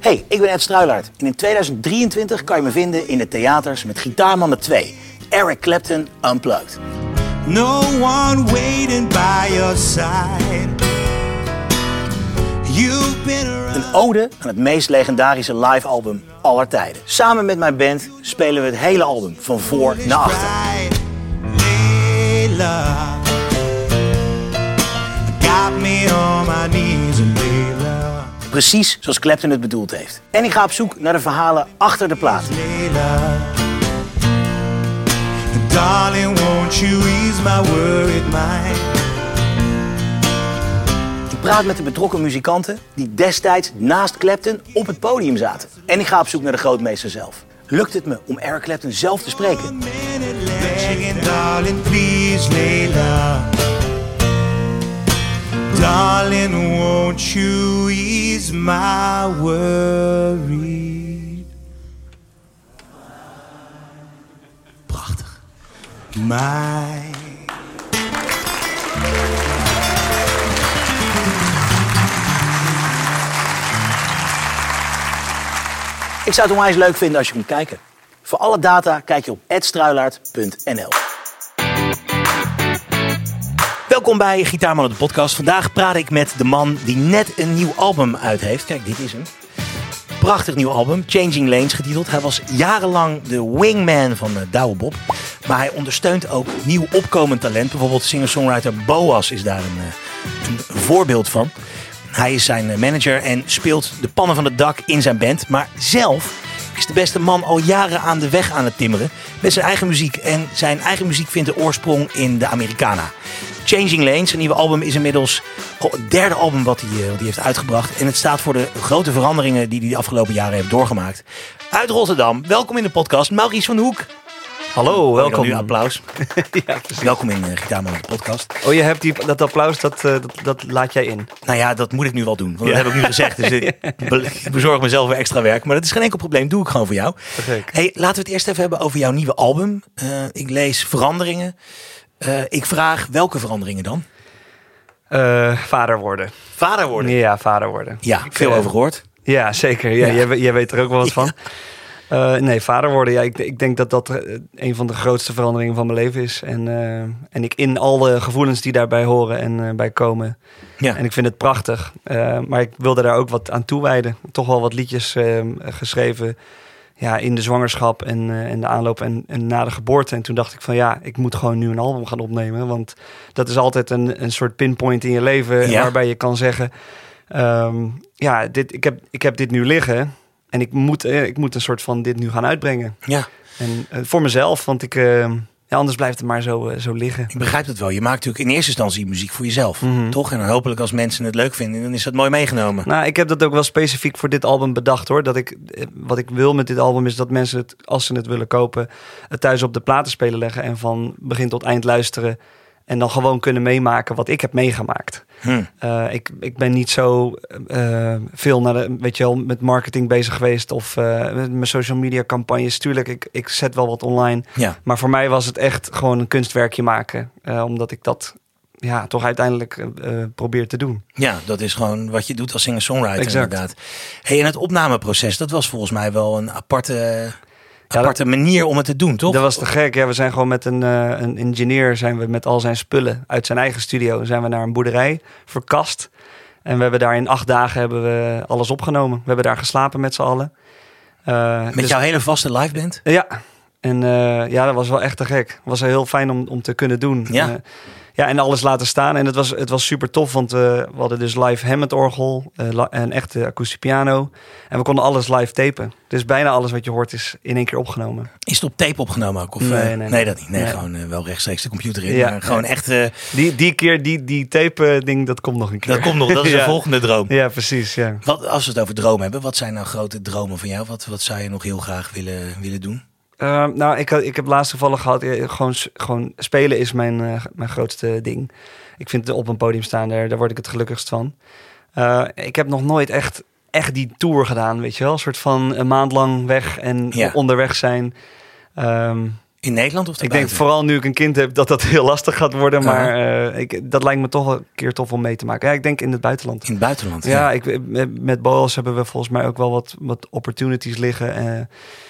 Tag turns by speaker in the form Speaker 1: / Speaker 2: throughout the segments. Speaker 1: Hey, ik ben Ed Struilaert en in 2023 kan je me vinden in de theaters met Gitaarmannen 2, Eric Clapton Unplugged.
Speaker 2: no one waiting by your side. You've been around.
Speaker 1: Een ode aan het meest legendarische live album aller tijden. Samen met mijn band spelen we het hele album van voor naar achter.
Speaker 2: Right, Layla. Got me on my knees, Layla.
Speaker 1: Precies zoals Clapton het bedoeld heeft. En ik ga op zoek naar de verhalen achter de plaat.
Speaker 2: Layla. Darling, won't you ease my worried mind?
Speaker 1: Ik praat met de betrokken muzikanten die destijds naast Clapton op het podium zaten. En ik ga op zoek naar de grootmeester zelf. Lukt het me om Eric Clapton zelf te spreken?
Speaker 2: Begging, darling, please, Layla. Darling, won't you ease my worry? Prachtig. My.
Speaker 1: Ik zou het onwijs leuk vinden als je komt kijken. Voor alle data kijk je op edstruilaard.nl. Welkom bij Gitaarman op de podcast. Vandaag praat ik met de man die net een nieuw album uit heeft. Kijk, dit is hem. Prachtig nieuw album, Changing Lanes getiteld. Hij was jarenlang de wingman van eh, Douwe Bob. Maar hij ondersteunt ook nieuw opkomend talent. Bijvoorbeeld singer-songwriter Boas is daar een, eh, een voorbeeld van. Hij is zijn eh, manager en speelt de pannen van het dak in zijn band. Maar zelf is de beste man al jaren aan de weg aan het timmeren. Met zijn eigen muziek. En zijn eigen muziek vindt de oorsprong in de Americana. Changing Lanes, zijn nieuwe album, is inmiddels al het derde album wat hij, eh, wat hij heeft uitgebracht. En het staat voor de grote veranderingen die hij de afgelopen jaren heeft doorgemaakt. Uit Rotterdam, welkom in de podcast, Maurice van de Hoek.
Speaker 3: Hallo, welkom.
Speaker 1: Welkom. Nu applaus.
Speaker 3: Ja, precies.
Speaker 1: Welkom in eh, Gitaarman, de podcast.
Speaker 3: oh, je hebt die, dat applaus, dat, eh, dat, dat laat jij in.
Speaker 1: Nou ja, dat moet ik nu wel doen. Want dat heb ik nu gezegd. Dus ik be- ik bezorg mezelf weer extra werk. Maar dat is geen enkel probleem. Doe ik gewoon voor jou.
Speaker 3: Perfect.
Speaker 1: Hey, laten we het eerst even hebben over jouw nieuwe album. Eh, ik lees veranderingen. Eh, ik vraag welke veranderingen dan?
Speaker 3: Eh, vader worden.
Speaker 1: Vader worden. Ja,
Speaker 3: Ja, vader worden. Ik,
Speaker 1: veel
Speaker 3: eh,
Speaker 1: over gehoord.
Speaker 3: Ja, zeker. Ja,
Speaker 1: Ja.
Speaker 3: Jij, we- jij weet er ook wel wat van. Eh, nee, vader worden. Ja, ik, ik denk dat dat eh, een van de grootste veranderingen van mijn leven is. En, eh, en ik in alle gevoelens die daarbij horen en eh, bij komen.
Speaker 1: Ja.
Speaker 3: En ik vind het prachtig. Eh, maar ik wilde daar ook wat aan toewijden. Toch wel wat liedjes eh, geschreven ja, in de zwangerschap en, eh, en de aanloop en, en na de geboorte. En toen dacht ik van ja, ik moet gewoon nu een album gaan opnemen. Want dat is altijd een, een soort pinpoint in je leven
Speaker 1: Ja.
Speaker 3: waarbij je kan zeggen... ehm, ja, dit, ik, heb, ik heb dit nu liggen en ik moet, eh, ik moet een soort van dit nu gaan uitbrengen.
Speaker 1: ja,
Speaker 3: En eh, voor mezelf, want ik, eh, ja, anders blijft het maar zo, eh, zo liggen.
Speaker 1: ik begrijp het wel. Je maakt natuurlijk in eerste instantie muziek voor jezelf.
Speaker 3: Mhm.
Speaker 1: Toch? En dan hopelijk als mensen het leuk vinden, dan is dat mooi meegenomen.
Speaker 3: Nou, ik heb dat ook wel specifiek voor dit album bedacht hoor. Dat ik, eh, wat ik wil met dit album is dat mensen het, als ze het willen kopen, het thuis op de platenspeler leggen en van begin tot eind luisteren. En dan gewoon kunnen meemaken wat ik heb meegemaakt.
Speaker 1: Hm.
Speaker 3: Eh, ik, ik ben niet zo eh, veel naar de, weet je wel, met marketing bezig geweest of eh, met mijn social media campagnes. Tuurlijk, ik, ik zet wel wat online.
Speaker 1: Ja.
Speaker 3: Maar voor mij was het echt gewoon een kunstwerkje maken. Eh, omdat ik dat ja, toch uiteindelijk eh, eh, probeer te doen.
Speaker 1: ja, dat is gewoon wat je doet als singer-songwriter
Speaker 3: Exact.
Speaker 1: inderdaad. Hey, en het opnameproces, dat was volgens mij wel een aparte,
Speaker 3: dat-
Speaker 1: aparte manier om het te doen, toch?
Speaker 3: Dat was te gek. Ja, we zijn gewoon met een, eh, een engineer, zijn we met al zijn spullen uit zijn eigen studio, zijn we naar een boerderij verkast. En we hebben daar in acht dagen hebben we alles opgenomen. We hebben daar geslapen met z'n allen. Eh,
Speaker 1: Met
Speaker 3: dus-
Speaker 1: jouw hele vaste liveband?
Speaker 3: Ja. En eh, ja, dat was wel echt te gek. Was heel fijn om, om te kunnen doen.
Speaker 1: Ja.
Speaker 3: Eh, ja, en alles laten staan. En het was, het was super tof, want eh, we hadden dus live Hammond-orgel eh, la- en echte akoestische piano. En we konden alles live tapen. Dus bijna alles wat je hoort is in één keer opgenomen.
Speaker 1: Is het op tape opgenomen ook? Of, eh,
Speaker 3: Nee,
Speaker 1: nee,
Speaker 3: nee, nee.
Speaker 1: dat niet. Nee,
Speaker 3: Nee.
Speaker 1: gewoon eh, wel rechtstreeks de computer in.
Speaker 3: Ja,
Speaker 1: maar gewoon
Speaker 3: ja.
Speaker 1: echt, eh,
Speaker 3: Die, die keer, die, die tape-ding, dat komt nog een keer.
Speaker 1: dat komt nog. Dat is de
Speaker 3: Ja.
Speaker 1: volgende droom.
Speaker 3: Ja, precies. Ja.
Speaker 1: Wat, als we het over dromen hebben, wat zijn nou grote dromen van jou? Wat, wat zou je nog heel graag willen, willen doen?
Speaker 3: Ehm, nou, ik, had- ik heb laatst toevallig gehad, eh, gewoon, s- gewoon spelen is mijn, eh, mijn grootste ding. Ik vind op een podium staan, daar, daar word ik het gelukkigst van. Eh, ik heb nog nooit echt, echt die tour gedaan, weet je wel. Een soort van een maand lang weg en
Speaker 1: Ja.
Speaker 3: onderweg zijn. Ehm,
Speaker 1: In Nederland of
Speaker 3: Ik denk vooral nu ik een kind heb dat dat heel lastig gaat worden. Maar eh, ik, dat lijkt me toch wel een keer tof om mee te maken. Ja, ik denk in het buitenland.
Speaker 1: in het buitenland.
Speaker 3: Ja, ik, met- met Boas hebben we volgens mij ook wel wat, wat opportunities liggen. Eh,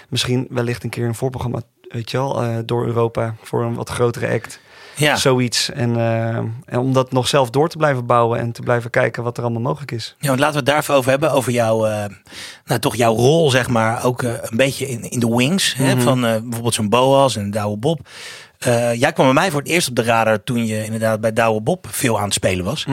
Speaker 3: misschien wellicht een keer een voorprogramma, weet je wel, eh, door Europa voor een wat grotere act.
Speaker 1: ja.
Speaker 3: Zoiets. En, eh, en om dat nog zelf door te blijven bouwen en te blijven kijken wat er allemaal mogelijk is.
Speaker 1: Ja, want laten we het daarover over hebben. Over jouw, eh, nou, toch jouw rol, zeg maar. Ook eh, een beetje in, in de wings. Hè, van eh, bijvoorbeeld zo'n Boas en Douwe Bob. Eh, jij kwam bij mij voor het eerst op de radar toen je inderdaad bij Douwe Bob veel aan het spelen was.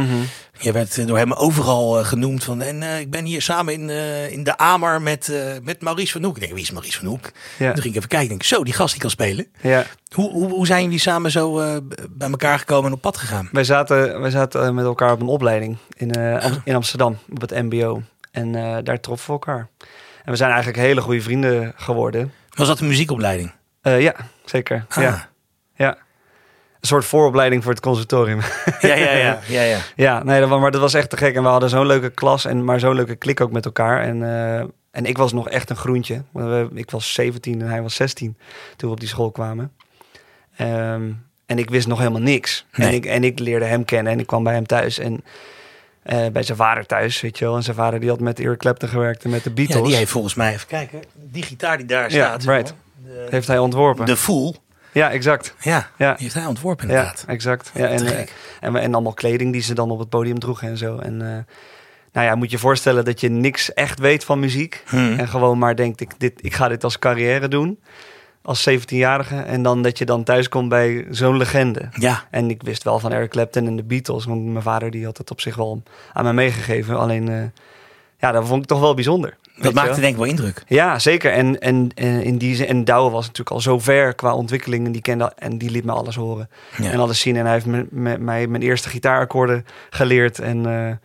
Speaker 1: Je werd eh, door hem overal eh, genoemd van. En eh, ik ben hier samen in, eh, in de Amer met, eh, met Maurice van Hoek. Ik denk, wie is Maurice van Hoek?
Speaker 3: Ja.
Speaker 1: Toen ging ik even kijken. Ik denk, zo, die gast die kan spelen.
Speaker 3: Ja.
Speaker 1: Hoe, hoe, hoe zijn jullie samen zo eh, b- bij elkaar gekomen en op pad gegaan?
Speaker 3: Wij zaten, wij zaten eh, met elkaar op een opleiding in, eh, Am- in Amsterdam, op het MBO. En eh, daar troffen we elkaar. En we zijn eigenlijk hele goede vrienden geworden.
Speaker 1: Was dat een muziekopleiding?
Speaker 3: Eh, ja, zeker.
Speaker 1: Ah.
Speaker 3: Ja. ja. Een soort vooropleiding voor het conservatorium.
Speaker 1: Ja, ja, ja. ja, ja.
Speaker 3: ja, nee, dat, wa- maar dat was echt te gek. En we hadden zo'n leuke klas en maar zo'n leuke klik ook met elkaar. En, eh, en ik was nog echt een groentje. Want we- Ik was 17 en hij was 16 toen we op die school kwamen. Ehm, en ik wist nog helemaal niks. En,
Speaker 1: Nee.
Speaker 3: ik, en ik leerde hem kennen en ik kwam bij hem thuis. En eh, bij zijn vader thuis, weet je wel. En zijn vader die had met Eric Clapton gewerkt en met de Beatles.
Speaker 1: Ja, die heeft volgens mij, even kijken, die gitaar die daar
Speaker 3: Ja,
Speaker 1: staat. zeg maar,
Speaker 3: right.
Speaker 1: De,
Speaker 3: Heeft hij ontworpen.
Speaker 1: de Fool,
Speaker 3: Ja, exact.
Speaker 1: ja,
Speaker 3: Ja.
Speaker 1: die heeft hij ontworpen
Speaker 3: Ja,
Speaker 1: inderdaad.
Speaker 3: exact. Ja,
Speaker 1: Ja,
Speaker 3: en,
Speaker 1: te
Speaker 3: eh,
Speaker 1: gek.
Speaker 3: en, we- en allemaal kleding die ze dan op het podium droegen en zo. En eh, nou ja, moet je voorstellen dat je niks echt weet van muziek.
Speaker 1: Hmm.
Speaker 3: En gewoon maar denkt, ik, dit, ik ga dit als carrière doen. Als 17-jarige. En dan dat je dan thuis komt bij zo'n legende.
Speaker 1: Ja,
Speaker 3: En ik wist wel van Eric Clapton en de Beatles. Want mijn vader die had het op zich wel aan mij meegegeven. Alleen, eh, ja, dat vond ik toch wel bijzonder. Weet je
Speaker 1: dat maakte
Speaker 3: wel?
Speaker 1: denk ik wel indruk.
Speaker 3: Ja, zeker. En, en, en in die zin, en Douwe was natuurlijk al zo ver qua ontwikkeling. En die kende en die liet me alles horen
Speaker 1: Ja.
Speaker 3: en alles zien. En hij heeft me- me- mij mijn eerste gitaarakkoorden geleerd. En eh,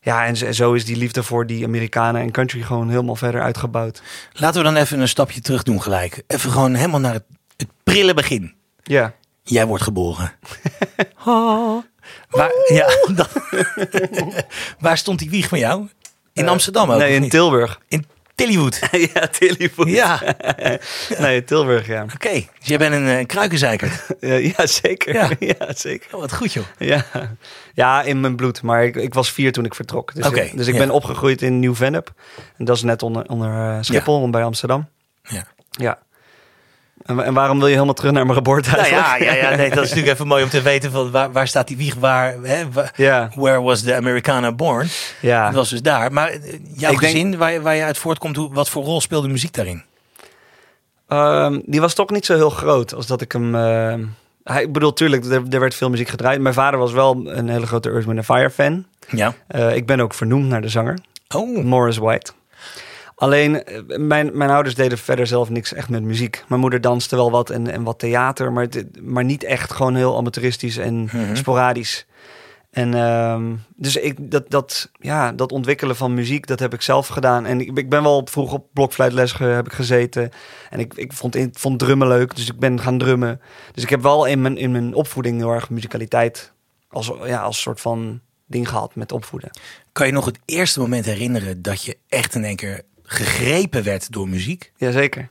Speaker 3: ja, en zo- zo is die liefde voor die Amerikanen en country gewoon helemaal verder uitgebouwd.
Speaker 1: Laten we dan even een stapje terug doen gelijk. Even gewoon helemaal naar het, het prille begin.
Speaker 3: Ja.
Speaker 1: Jij wordt geboren. Waar, ja, dan- waar stond die wieg van jou? In
Speaker 3: Eh,
Speaker 1: Amsterdam ook?
Speaker 3: Nee,
Speaker 1: of
Speaker 3: in
Speaker 1: niet?
Speaker 3: Tilburg.
Speaker 1: in Tillywood.
Speaker 3: ja, Tilburg.
Speaker 1: Ja, oké.
Speaker 3: Nee, Tilburg, ja.
Speaker 1: Dus jij bent een eh, kruikenzeiker.
Speaker 3: Eh, ja, zeker.
Speaker 1: Ja.
Speaker 3: Ja, zeker.
Speaker 1: Oh, wat goed joh.
Speaker 3: Ja. ja, in mijn bloed. Maar ik, ik was vier toen ik vertrok. Dus,
Speaker 1: Oké,
Speaker 3: ik, dus ik
Speaker 1: ja.
Speaker 3: ben opgegroeid in Nieuw-Vennep. En dat is net onder, onder eh, Schiphol, bij Amsterdam.
Speaker 1: Ja.
Speaker 3: Ja. En, wa- en waarom wil je helemaal terug naar mijn geboorte
Speaker 1: Nou
Speaker 3: eigenlijk?
Speaker 1: ja, ja, ja nee, dat is natuurlijk even mooi om te weten van waar, waar staat die wieg, waar, hè, wa-
Speaker 3: Ja,
Speaker 1: where was the Americana born?
Speaker 3: ja.
Speaker 1: Dat was dus daar. Maar eh, jouw
Speaker 3: Ik denk-
Speaker 1: gezin, waar, je- waar je uit voortkomt, hoe, wat voor rol speelde muziek daarin?
Speaker 3: Ehm, die was toch niet zo heel groot als dat ik hem. ehm, hij, ik bedoel, tuurlijk, er, er werd veel muziek gedraaid. Mijn vader was wel een hele grote Earth, Wind Fire fan.
Speaker 1: Ja.
Speaker 3: Eh, ik ben ook vernoemd naar de zanger,
Speaker 1: Oh,
Speaker 3: Morris White. Alleen, eh, mijn, mijn ouders deden verder zelf niks echt met muziek. Mijn moeder danste wel wat en, en wat theater, maar, het- maar niet echt gewoon heel amateuristisch en
Speaker 1: Mhm.
Speaker 3: sporadisch. En ehm, dus ik, dat, dat, ja, dat ontwikkelen van muziek, dat heb ik zelf gedaan. En ik, ik ben wel op- vroeg op blokfluitles ge- heb ik gezeten. En ik, ik, vond, ik vond drummen leuk, dus ik ben gaan drummen. Dus ik heb wel in mijn, in mijn opvoeding heel erg muzikaliteit als, ja, als soort van ding gehad met opvoeden.
Speaker 1: kan je nog het eerste moment herinneren dat je echt in één keer gegrepen werd door muziek?
Speaker 3: Jazeker.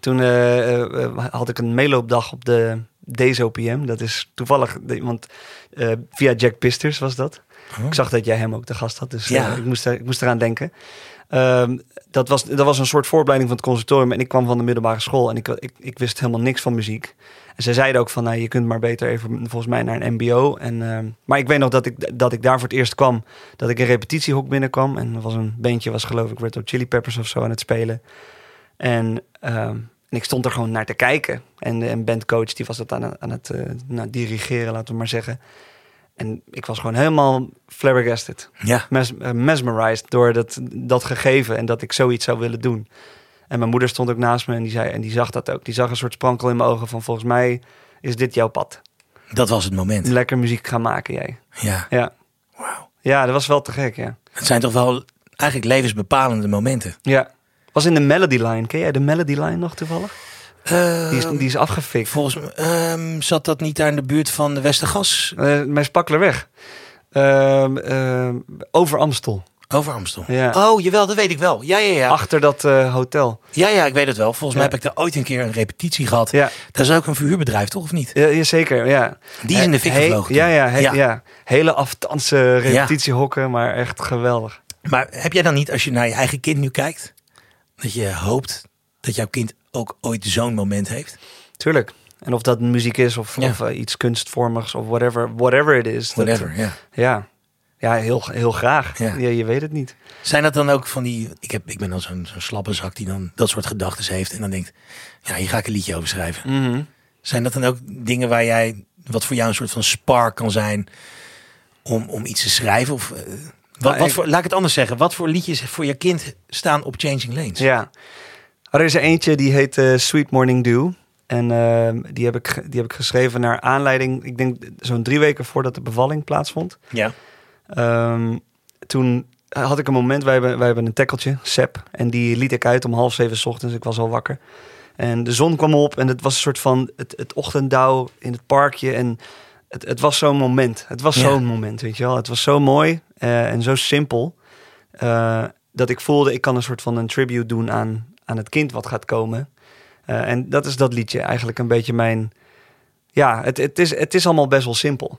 Speaker 3: Toen eh, eh, eh, had ik een meeloopdag op de DZOPM. Dat is toevallig, de- want eh, via Jack Pisters was dat.
Speaker 1: Oh.
Speaker 3: Ik zag dat jij hem ook te gast had, dus eh,
Speaker 1: Ja.
Speaker 3: ik, moest er, ik moest eraan denken. Ehm, dat, was, dat was een soort vooropleiding van het conservatorium. En ik kwam van de middelbare school en ik, ik, ik wist helemaal niks van muziek. En ze zeiden ook van, nou, je kunt maar beter even volgens mij naar een mbo. En, ehm, maar ik weet nog dat ik, dat ik daar voor het eerst kwam. Dat ik een repetitiehok binnenkwam. En er was een bandje, was geloof ik Red Hot Chili Peppers of zo aan het spelen. En, ehm, en ik stond er gewoon naar te kijken. En de en bandcoach die was dat aan, aan het eh, nou, dirigeren, laten we maar zeggen. En ik was gewoon helemaal flabbergasted,
Speaker 1: Ja.
Speaker 3: mes- eh, mesmerized door dat, dat gegeven en dat ik zoiets zou willen doen. En mijn moeder stond ook naast me en die, zei, en die zag dat ook. Die zag een soort sprankel in mijn ogen van volgens mij is dit jouw pad.
Speaker 1: Dat was het moment.
Speaker 3: Lekker muziek gaan maken jij.
Speaker 1: Ja.
Speaker 3: Ja,
Speaker 1: Wauw.
Speaker 3: ja dat was wel te gek, ja.
Speaker 1: Het zijn toch wel eigenlijk levensbepalende momenten.
Speaker 3: Ja, was in de Melody Line. Ken jij de Melody Line nog toevallig? Die is,
Speaker 1: Ehm,
Speaker 3: die is afgefikt.
Speaker 1: Volgens mij ehm, zat dat niet daar in de buurt van de Westergas.
Speaker 3: Eh, mijn spakkeler weg. Ehm, ehm, over Amstel.
Speaker 1: Over Amstel.
Speaker 3: Ja.
Speaker 1: Oh, jawel, dat weet ik wel. Ja, ja, ja.
Speaker 3: Achter dat eh, hotel.
Speaker 1: Ja, ja, ik weet het wel. Volgens mij
Speaker 3: Ja.
Speaker 1: heb ik daar ooit een keer een repetitie gehad.
Speaker 3: Ja.
Speaker 1: Dat is ook een verhuurbedrijf, toch? Of niet?
Speaker 3: Ja, ja, zeker, ja.
Speaker 1: Die is in de fik
Speaker 3: He-
Speaker 1: gevlogen
Speaker 3: Ja,
Speaker 1: toen.
Speaker 3: ja, he-
Speaker 1: Ja.
Speaker 3: ja. Hele aftandse repetitiehokken, maar echt geweldig.
Speaker 1: Maar heb jij dan niet, als je naar je eigen kind nu kijkt, dat je hoopt dat jouw kind ook ooit zo'n moment heeft?
Speaker 3: Tuurlijk. En of dat muziek is of,
Speaker 1: Ja.
Speaker 3: of eh, iets kunstvormigs of whatever, whatever it is. dat-
Speaker 1: Whatever, ja.
Speaker 3: ja. Ja, heel, heel graag.
Speaker 1: Ja.
Speaker 3: Ja. je weet het niet.
Speaker 1: Zijn dat dan ook van die... Ik, heb, ik ben dan zo'n zo'n slappe zak die dan dat soort gedachten heeft en dan denkt, ja, hier ga ik een liedje over schrijven. Zijn dat dan ook dingen waar jij, wat voor jou een soort van spark kan zijn om, om iets te schrijven? Of, eh, wat,
Speaker 3: Nou,
Speaker 1: wat
Speaker 3: ik-
Speaker 1: voor, laat ik het anders zeggen. Wat voor liedjes voor je kind staan op Changing Lanes?
Speaker 3: Ja. Oh, Er is er eentje die heet eh, Sweet Morning Dew. En ehm, die, heb ik, ge- die heb ik geschreven naar aanleiding, ik denk zo'n drie weken voordat de bevalling plaatsvond.
Speaker 1: ja.
Speaker 3: Ehm, toen had ik een moment, wij hebben, wij hebben een tekkeltje, Sep. En die liet ik uit om half zeven 's ochtends, ik was al wakker. En de zon kwam op en het was een soort van het, het ochtenddauw in het parkje. En het, het was zo'n moment. Het was
Speaker 1: Ja.
Speaker 3: zo'n moment, weet je wel. Het was zo mooi eh, en zo simpel. eh, dat ik voelde, ik kan een soort van een tribute doen aan, aan het kind wat gaat komen. Eh, en dat is dat liedje eigenlijk een beetje mijn... Ja, het, het, is, het is allemaal best wel simpel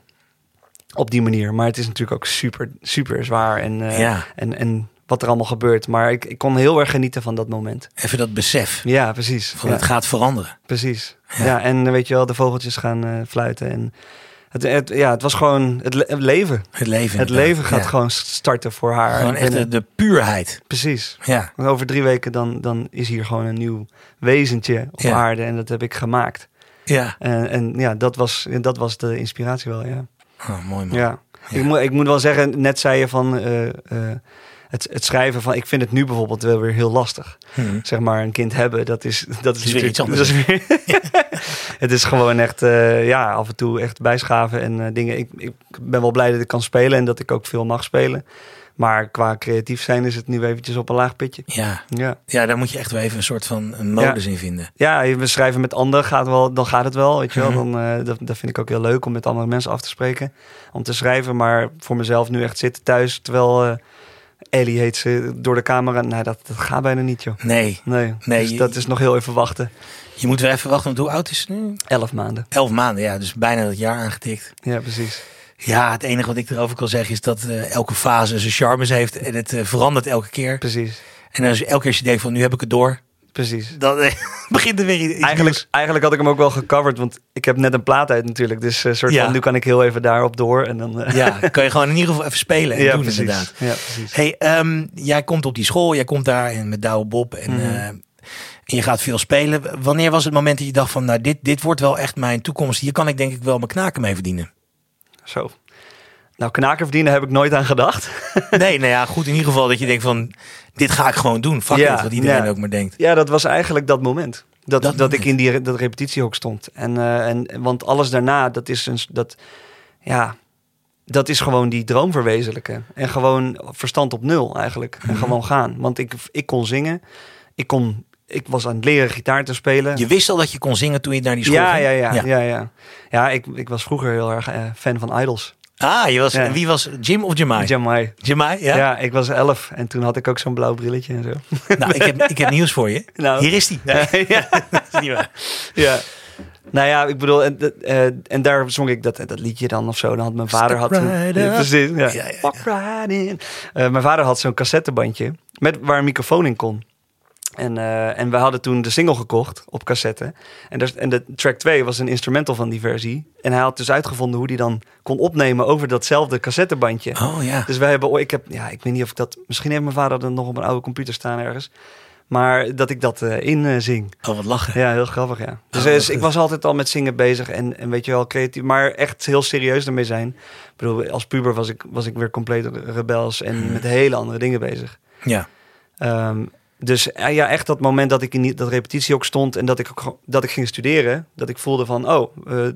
Speaker 3: op die manier. Maar het is natuurlijk ook super, super zwaar en, eh,
Speaker 1: Ja.
Speaker 3: en, en wat er allemaal gebeurt. Maar ik, ik kon heel erg genieten van dat moment.
Speaker 1: Even dat besef
Speaker 3: Ja, precies.
Speaker 1: van
Speaker 3: Ja.
Speaker 1: het gaat veranderen.
Speaker 3: Precies. Ja. en eh, weet je wel, de vogeltjes gaan eh, fluiten. En het, het, ja, het was gewoon het, le- het leven.
Speaker 1: Het leven.
Speaker 3: Het
Speaker 1: inderdaad.
Speaker 3: leven gaat
Speaker 1: Ja.
Speaker 3: gewoon starten voor haar.
Speaker 1: Gewoon echt de,
Speaker 3: En- eh,
Speaker 1: de puurheid.
Speaker 3: Precies.
Speaker 1: Ja.
Speaker 3: Want over drie weken dan, dan is hier gewoon een nieuw wezentje op
Speaker 1: Ja.
Speaker 3: aarde. En dat heb ik gemaakt.
Speaker 1: Ja.
Speaker 3: En, en ja, dat was, dat was de inspiratie wel, ja.
Speaker 1: Oh, mooi man.
Speaker 3: Ja,
Speaker 1: Ja.
Speaker 3: Ik, moet, ik moet wel zeggen, net zei je van eh, eh, het, het schrijven van, ik vind het nu bijvoorbeeld wel weer heel lastig.
Speaker 1: Hm.
Speaker 3: Zeg maar, een kind hebben, dat is, dat is,
Speaker 1: weer
Speaker 3: natuurlijk-
Speaker 1: iets anders.
Speaker 3: dat is weer- het is gewoon echt, eh, ja, af en toe echt bijschaven en eh, dingen. Ik, ik ben wel blij dat ik kan spelen en dat ik ook veel mag spelen. Maar qua creatief zijn is het nu eventjes op een laag pitje.
Speaker 1: Ja.
Speaker 3: Ja,
Speaker 1: ja, daar moet je echt wel even een soort van een modus in vinden.
Speaker 3: ja we schrijven met anderen, gaat wel, dan gaat het wel, weet je wel.
Speaker 1: Mhm.
Speaker 3: Dan, eh, dat, dat vind ik ook heel leuk om met andere mensen af te spreken, om te schrijven. Maar voor mezelf nu echt zitten thuis, terwijl eh Ellie heet ze, door de camera. Nou, dat, dat gaat bijna niet, joh.
Speaker 1: Nee,
Speaker 3: Nee,
Speaker 1: Nee,
Speaker 3: dus
Speaker 1: je-
Speaker 3: dat is nog heel even wachten.
Speaker 1: je moet wel even wachten. Want hoe oud is ze nu?
Speaker 3: Elf maanden,
Speaker 1: Elf maanden, ja. Dus bijna dat jaar aangetikt.
Speaker 3: ja precies.
Speaker 1: Ja, het enige wat ik erover kan zeggen is dat eh, elke fase zijn charmes heeft. En het eh, verandert elke keer.
Speaker 3: Precies,
Speaker 1: En als je elke keer als je denkt van nu heb ik het door.
Speaker 3: precies.
Speaker 1: Dan eh, begint er weer iets
Speaker 3: Eigenlijk,
Speaker 1: nieuws.
Speaker 3: eigenlijk had ik hem ook wel gecoverd, want ik heb net een plaat uit natuurlijk. Dus eh, soort
Speaker 1: Ja.
Speaker 3: van, nu kan ik heel even daarop door. En dan, eh,
Speaker 1: Ja, kan je gewoon in ieder geval even spelen en doen inderdaad.
Speaker 3: Ja, precies.
Speaker 1: Hey, ehm, jij komt op die school, jij komt daar en met Douwe Bob
Speaker 3: Mhm.
Speaker 1: en, eh, en je gaat veel spelen. Wanneer was het moment dat je dacht van, nou dit, dit wordt wel echt mijn toekomst. Hier kan ik denk ik wel mijn knaken mee verdienen.
Speaker 3: Zo. Nou, knaken verdienen heb ik nooit aan gedacht.
Speaker 1: nee, nou ja, goed in ieder geval dat je denkt van, dit ga ik gewoon doen. Fuck
Speaker 3: Ja,
Speaker 1: it, wat iedereen
Speaker 3: ja.
Speaker 1: ook maar denkt.
Speaker 3: Ja, dat was eigenlijk dat moment. Dat,
Speaker 1: Dat
Speaker 3: dat,
Speaker 1: moment.
Speaker 3: ik in die re- dat repetitiehok stond. En, eh, en, want alles daarna, dat is, een, s- dat, ja, dat is gewoon die droom verwezenlijken. En gewoon verstand op nul eigenlijk.
Speaker 1: Mhm.
Speaker 3: En gewoon gaan. Want ik, ik kon zingen. Ik, kon, ik was aan het leren gitaar te spelen.
Speaker 1: Je wist al dat je kon zingen toen je naar die school
Speaker 3: ja,
Speaker 1: ging?
Speaker 3: ja, ja, ja, ja, ja. ik, ik was vroeger heel erg eh, fan van Idols.
Speaker 1: Ah, je was,
Speaker 3: Ja.
Speaker 1: en wie was Jim of Jamai?
Speaker 3: Jamai.
Speaker 1: Jamai, ja?
Speaker 3: Ja? ik was elf en toen had ik ook zo'n blauw brilletje en zo.
Speaker 1: Nou, ik heb, ik heb nieuws voor je.
Speaker 3: Nou.
Speaker 1: Hier is die. Nee,
Speaker 3: ja.
Speaker 1: dat is niet waar.
Speaker 3: Ja. Nou ja, ik bedoel, en, dat, eh, en daar zong ik dat, dat liedje dan of zo. Dan had mijn vader had.
Speaker 1: Step right
Speaker 3: Ja,
Speaker 1: up.
Speaker 3: precies. Ja.
Speaker 1: Ja, ja, ja.
Speaker 3: Walk right in. Eh, mijn vader had zo'n cassettebandje met, waar een microfoon in kon. En, eh, en we hadden toen de single gekocht op cassette. En, daar, en de track 2 was een instrumental van die versie. En hij had dus uitgevonden hoe die dan kon opnemen over datzelfde cassettebandje.
Speaker 1: Oh ja.
Speaker 3: Dus wij hebben ooit, ik heb, ja, ik weet niet of ik dat, misschien heeft mijn vader dat nog op een oude computer staan ergens. Maar dat ik dat eh, in eh, zing.
Speaker 1: Oh, wat lachen.
Speaker 3: Ja, heel grappig, ja. Dus,
Speaker 1: Oh,
Speaker 3: eh,
Speaker 1: goed.
Speaker 3: ik was altijd al met zingen bezig en, en weet je wel, creatief, maar echt heel serieus ermee zijn. Ik bedoel, als puber was ik, was ik weer compleet rebels en met hele andere dingen bezig.
Speaker 1: Ja.
Speaker 3: Ehm, dus eh, ja, echt dat moment dat ik in die, dat repetitie ook stond en dat ik, ook, gewoon- dat ik ging studeren, dat ik voelde van, oh, eh,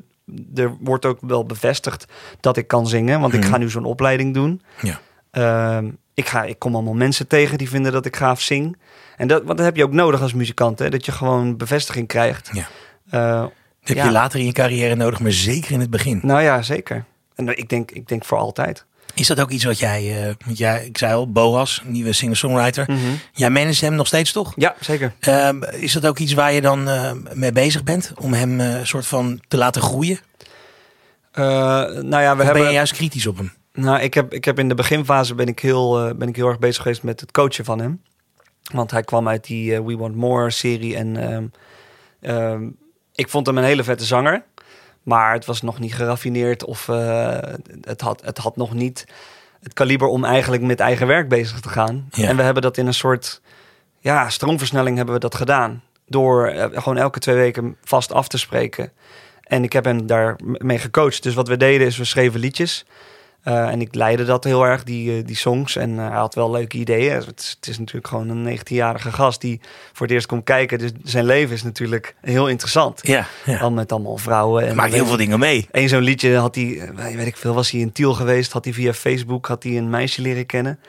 Speaker 3: er wordt ook wel bevestigd dat ik kan zingen, want
Speaker 1: Mhm.
Speaker 3: ik ga nu zo'n opleiding doen.
Speaker 1: Ja.
Speaker 3: Ehm, ik, ga, ik kom allemaal mensen tegen die vinden dat ik gaaf zing. En dat, want dat heb je ook nodig als muzikant, hè? dat je gewoon bevestiging krijgt.
Speaker 1: Ja.
Speaker 3: Eh,
Speaker 1: Dat heb
Speaker 3: Ja.
Speaker 1: je later in je carrière nodig, maar zeker in het begin.
Speaker 3: nou ja, zeker. En nou, ik denk, ik denk voor altijd.
Speaker 1: Is dat ook iets wat jij, eh, want jij ik zei al, Boas, nieuwe singer-songwriter.
Speaker 3: Mhm.
Speaker 1: Jij managt hem nog steeds toch?
Speaker 3: Ja, zeker.
Speaker 1: Ehm, is dat ook iets waar je dan eh, mee bezig bent? Om hem eh, soort van te laten groeien?
Speaker 3: Eh, nou ja, we
Speaker 1: Of
Speaker 3: hebben.
Speaker 1: ben je juist kritisch op hem?
Speaker 3: Nou, ik heb, ik heb in de beginfase ben ik, heel, eh, ben ik heel erg bezig geweest met het coachen van hem. Want hij kwam uit die eh, We Want More serie en ehm, ehm, ik vond hem een hele vette zanger. Maar het was nog niet geraffineerd of eh, het, had, het had nog niet het kaliber om eigenlijk met eigen werk bezig te gaan.
Speaker 1: Ja.
Speaker 3: En we hebben dat in een soort ja, stroomversnelling hebben we dat gedaan. Door eh, gewoon elke twee weken vast af te spreken. En ik heb hem daarmee gecoacht. Dus wat we deden is we schreven liedjes. Eh, en ik leidde dat heel erg, die, eh, die songs. En eh, hij had wel leuke ideeën. Het is, het is natuurlijk gewoon een 19-jarige gast die voor het eerst komt kijken. Dus zijn leven is natuurlijk heel interessant.
Speaker 1: Ja, ja.
Speaker 3: Dan met allemaal vrouwen. En
Speaker 1: maakt heel veel dingen mee.
Speaker 3: Eén zo'n liedje had hij, eh, weet ik veel, was hij in Tiel geweest. Had hij via Facebook had hij een meisje leren kennen.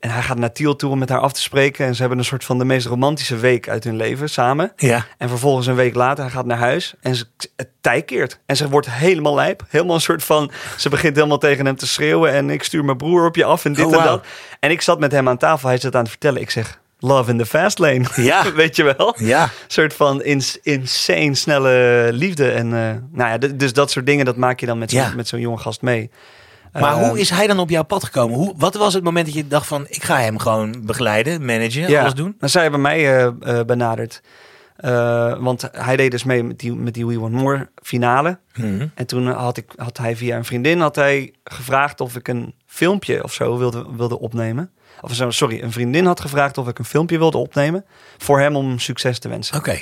Speaker 3: En hij gaat naar Tiel toe om met haar af te spreken. En ze hebben een soort van de meest romantische week uit hun leven samen.
Speaker 1: Ja.
Speaker 3: En vervolgens een week later, hij gaat naar huis en ze, het tij keert. En ze wordt helemaal lijp. Helemaal een soort van, ze begint helemaal tegen hem te schreeuwen. En ik stuur mijn broer op je af en dit
Speaker 1: Oh,
Speaker 3: en
Speaker 1: wauw.
Speaker 3: dat. En ik zat met hem aan tafel, hij zat aan het vertellen. Ik zeg, love in the fast lane.
Speaker 1: Ja.
Speaker 3: Weet je wel?
Speaker 1: Ja.
Speaker 3: Een soort van ins- insane snelle liefde. En eh, nou ja, d- dus dat soort dingen, dat maak je dan met zo'n
Speaker 1: Ja.
Speaker 3: met zo'n jonge gast mee.
Speaker 1: Maar
Speaker 3: Eh,
Speaker 1: hoe is hij dan op jouw pad gekomen? Hoe, wat was het moment dat je dacht van, ik ga hem gewoon begeleiden, managen, alles doen?
Speaker 3: Nou, zij hebben mij eh, eh, benaderd. Eh, want hij deed dus mee met die, met die We Want More finale.
Speaker 1: Mhm.
Speaker 3: En toen eh, had, ik, had hij via een vriendin had hij gevraagd of ik een filmpje of zo wilde, wilde opnemen. Of zo, sorry, een vriendin had gevraagd of ik een filmpje wilde opnemen. Voor hem om succes te wensen.
Speaker 1: Oké.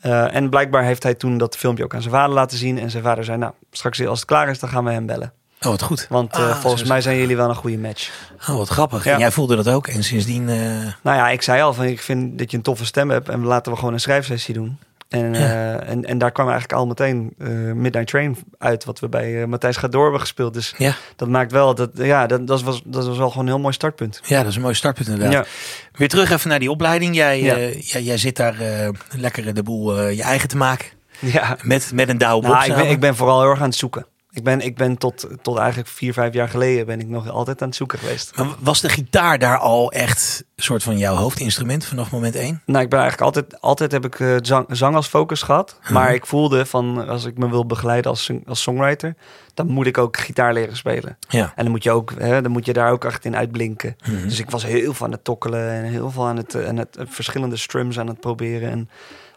Speaker 3: Eh, en blijkbaar heeft hij toen dat filmpje ook aan zijn vader laten zien. En zijn vader zei, nou, straks als het klaar is, dan gaan we hem bellen.
Speaker 1: Oh, wat goed.
Speaker 3: Want eh,
Speaker 1: Ah,
Speaker 3: volgens
Speaker 1: zo is
Speaker 3: mij zijn jullie wel een goede match.
Speaker 1: Oh, wat grappig.
Speaker 3: Ja.
Speaker 1: En jij voelde dat ook. En sindsdien... eh,
Speaker 3: Nou ja, ik zei al van ik vind dat je een toffe stem hebt en laten we gewoon een schrijfsessie doen. En,
Speaker 1: Ja.
Speaker 3: eh, en, en daar kwam eigenlijk al meteen eh, Midnight Train uit, wat we bij eh, Matthijs Gadoor hebben gespeeld. Dus
Speaker 1: Ja.
Speaker 3: dat maakt wel, dat, ja, dat, dat, was, dat was wel gewoon een heel mooi startpunt.
Speaker 1: Ja, dat is een mooi startpunt inderdaad. Weer terug even naar die opleiding. Jij,
Speaker 3: Ja.
Speaker 1: eh, jij, jij zit daar eh, lekker de boel eh, je eigen te maken.
Speaker 3: ja.
Speaker 1: Met, met een douw
Speaker 3: Nou, ik, ben, ik ben vooral heel erg aan het zoeken. Ik ben, ik ben tot, tot eigenlijk vier, vijf jaar geleden ben ik nog altijd aan het zoeken geweest.
Speaker 1: Was de gitaar daar al echt een soort van jouw hoofdinstrument vanaf moment één?
Speaker 3: Nou, ik ben eigenlijk altijd, altijd heb ik eh, zang, zang als focus gehad. Maar ik voelde van, als ik me wil begeleiden als, sing- als songwriter, dan moet ik ook gitaar leren spelen.
Speaker 1: Ja.
Speaker 3: En dan moet je, ook, hè, dan moet je daar ook echt in uitblinken.
Speaker 1: Mhm.
Speaker 3: Dus ik was heel veel aan het tokkelen en heel veel aan het, eh, aan het eh, verschillende strums aan het proberen. En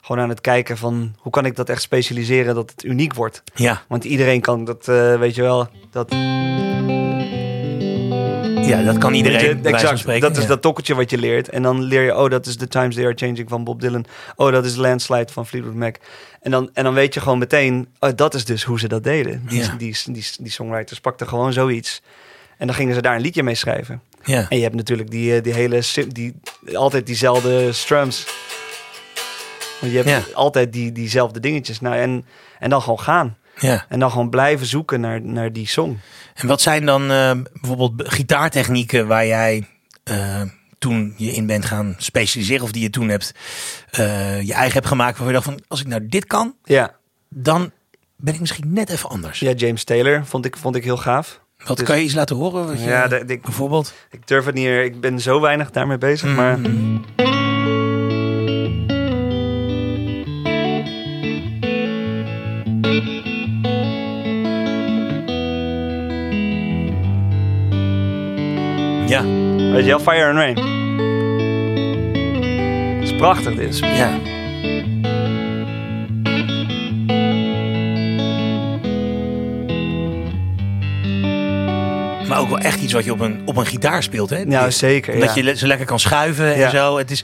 Speaker 3: gewoon aan het kijken van, hoe kan ik dat echt specialiseren dat het uniek wordt?
Speaker 1: Ja,
Speaker 3: Want iedereen kan dat, eh, weet je wel, dat...
Speaker 1: ja dat kan iedereen. bij
Speaker 3: Weet je,
Speaker 1: wijze van
Speaker 3: exact.
Speaker 1: spreken.
Speaker 3: dat is
Speaker 1: Ja.
Speaker 3: dat tokkeltje wat je leert. En dan leer je, oh, dat is The Times They Are Changing van Bob Dylan. Oh, dat is Landslide van Fleetwood Mac. En dan, en dan weet je gewoon meteen, oh, dat is dus hoe ze dat deden. Die,
Speaker 1: Ja.
Speaker 3: die, die, die songwriters pakten gewoon zoiets. En dan gingen ze daar een liedje mee schrijven.
Speaker 1: Ja.
Speaker 3: En je hebt natuurlijk die, eh, die hele, sim- die, altijd diezelfde strums. Want je hebt
Speaker 1: Ja.
Speaker 3: altijd die, diezelfde dingetjes. Nou, en, en dan gewoon gaan.
Speaker 1: ja.
Speaker 3: En dan gewoon blijven zoeken naar, naar die song.
Speaker 1: En wat zijn dan eh, bijvoorbeeld be- gitaartechnieken waar jij eh, toen je in bent gaan specialiseren of die je toen hebt eh, je eigen hebt gemaakt waarvan je dacht van als ik nou dit kan,
Speaker 3: Ja,
Speaker 1: dan ben ik misschien net even anders.
Speaker 3: ja James Taylor vond ik, vond ik heel gaaf.
Speaker 1: Wat
Speaker 3: Dus-
Speaker 1: kan je iets laten horen? Wat je-
Speaker 3: Ja, de- de-
Speaker 1: bijvoorbeeld.
Speaker 3: Ik durf het niet meer. Ik ben zo weinig daarmee bezig.
Speaker 1: Mm.
Speaker 3: Maar
Speaker 1: Ja,
Speaker 3: weet je wel, Fire and Rain. Dat is prachtig dit.
Speaker 1: ja. Maar ook wel echt iets wat je op een, op een gitaar speelt, hè?
Speaker 3: Nou,
Speaker 1: Dit.
Speaker 3: zeker.
Speaker 1: Dat
Speaker 3: Ja.
Speaker 1: je le- zo lekker kan schuiven en
Speaker 3: Ja.
Speaker 1: zo. Het is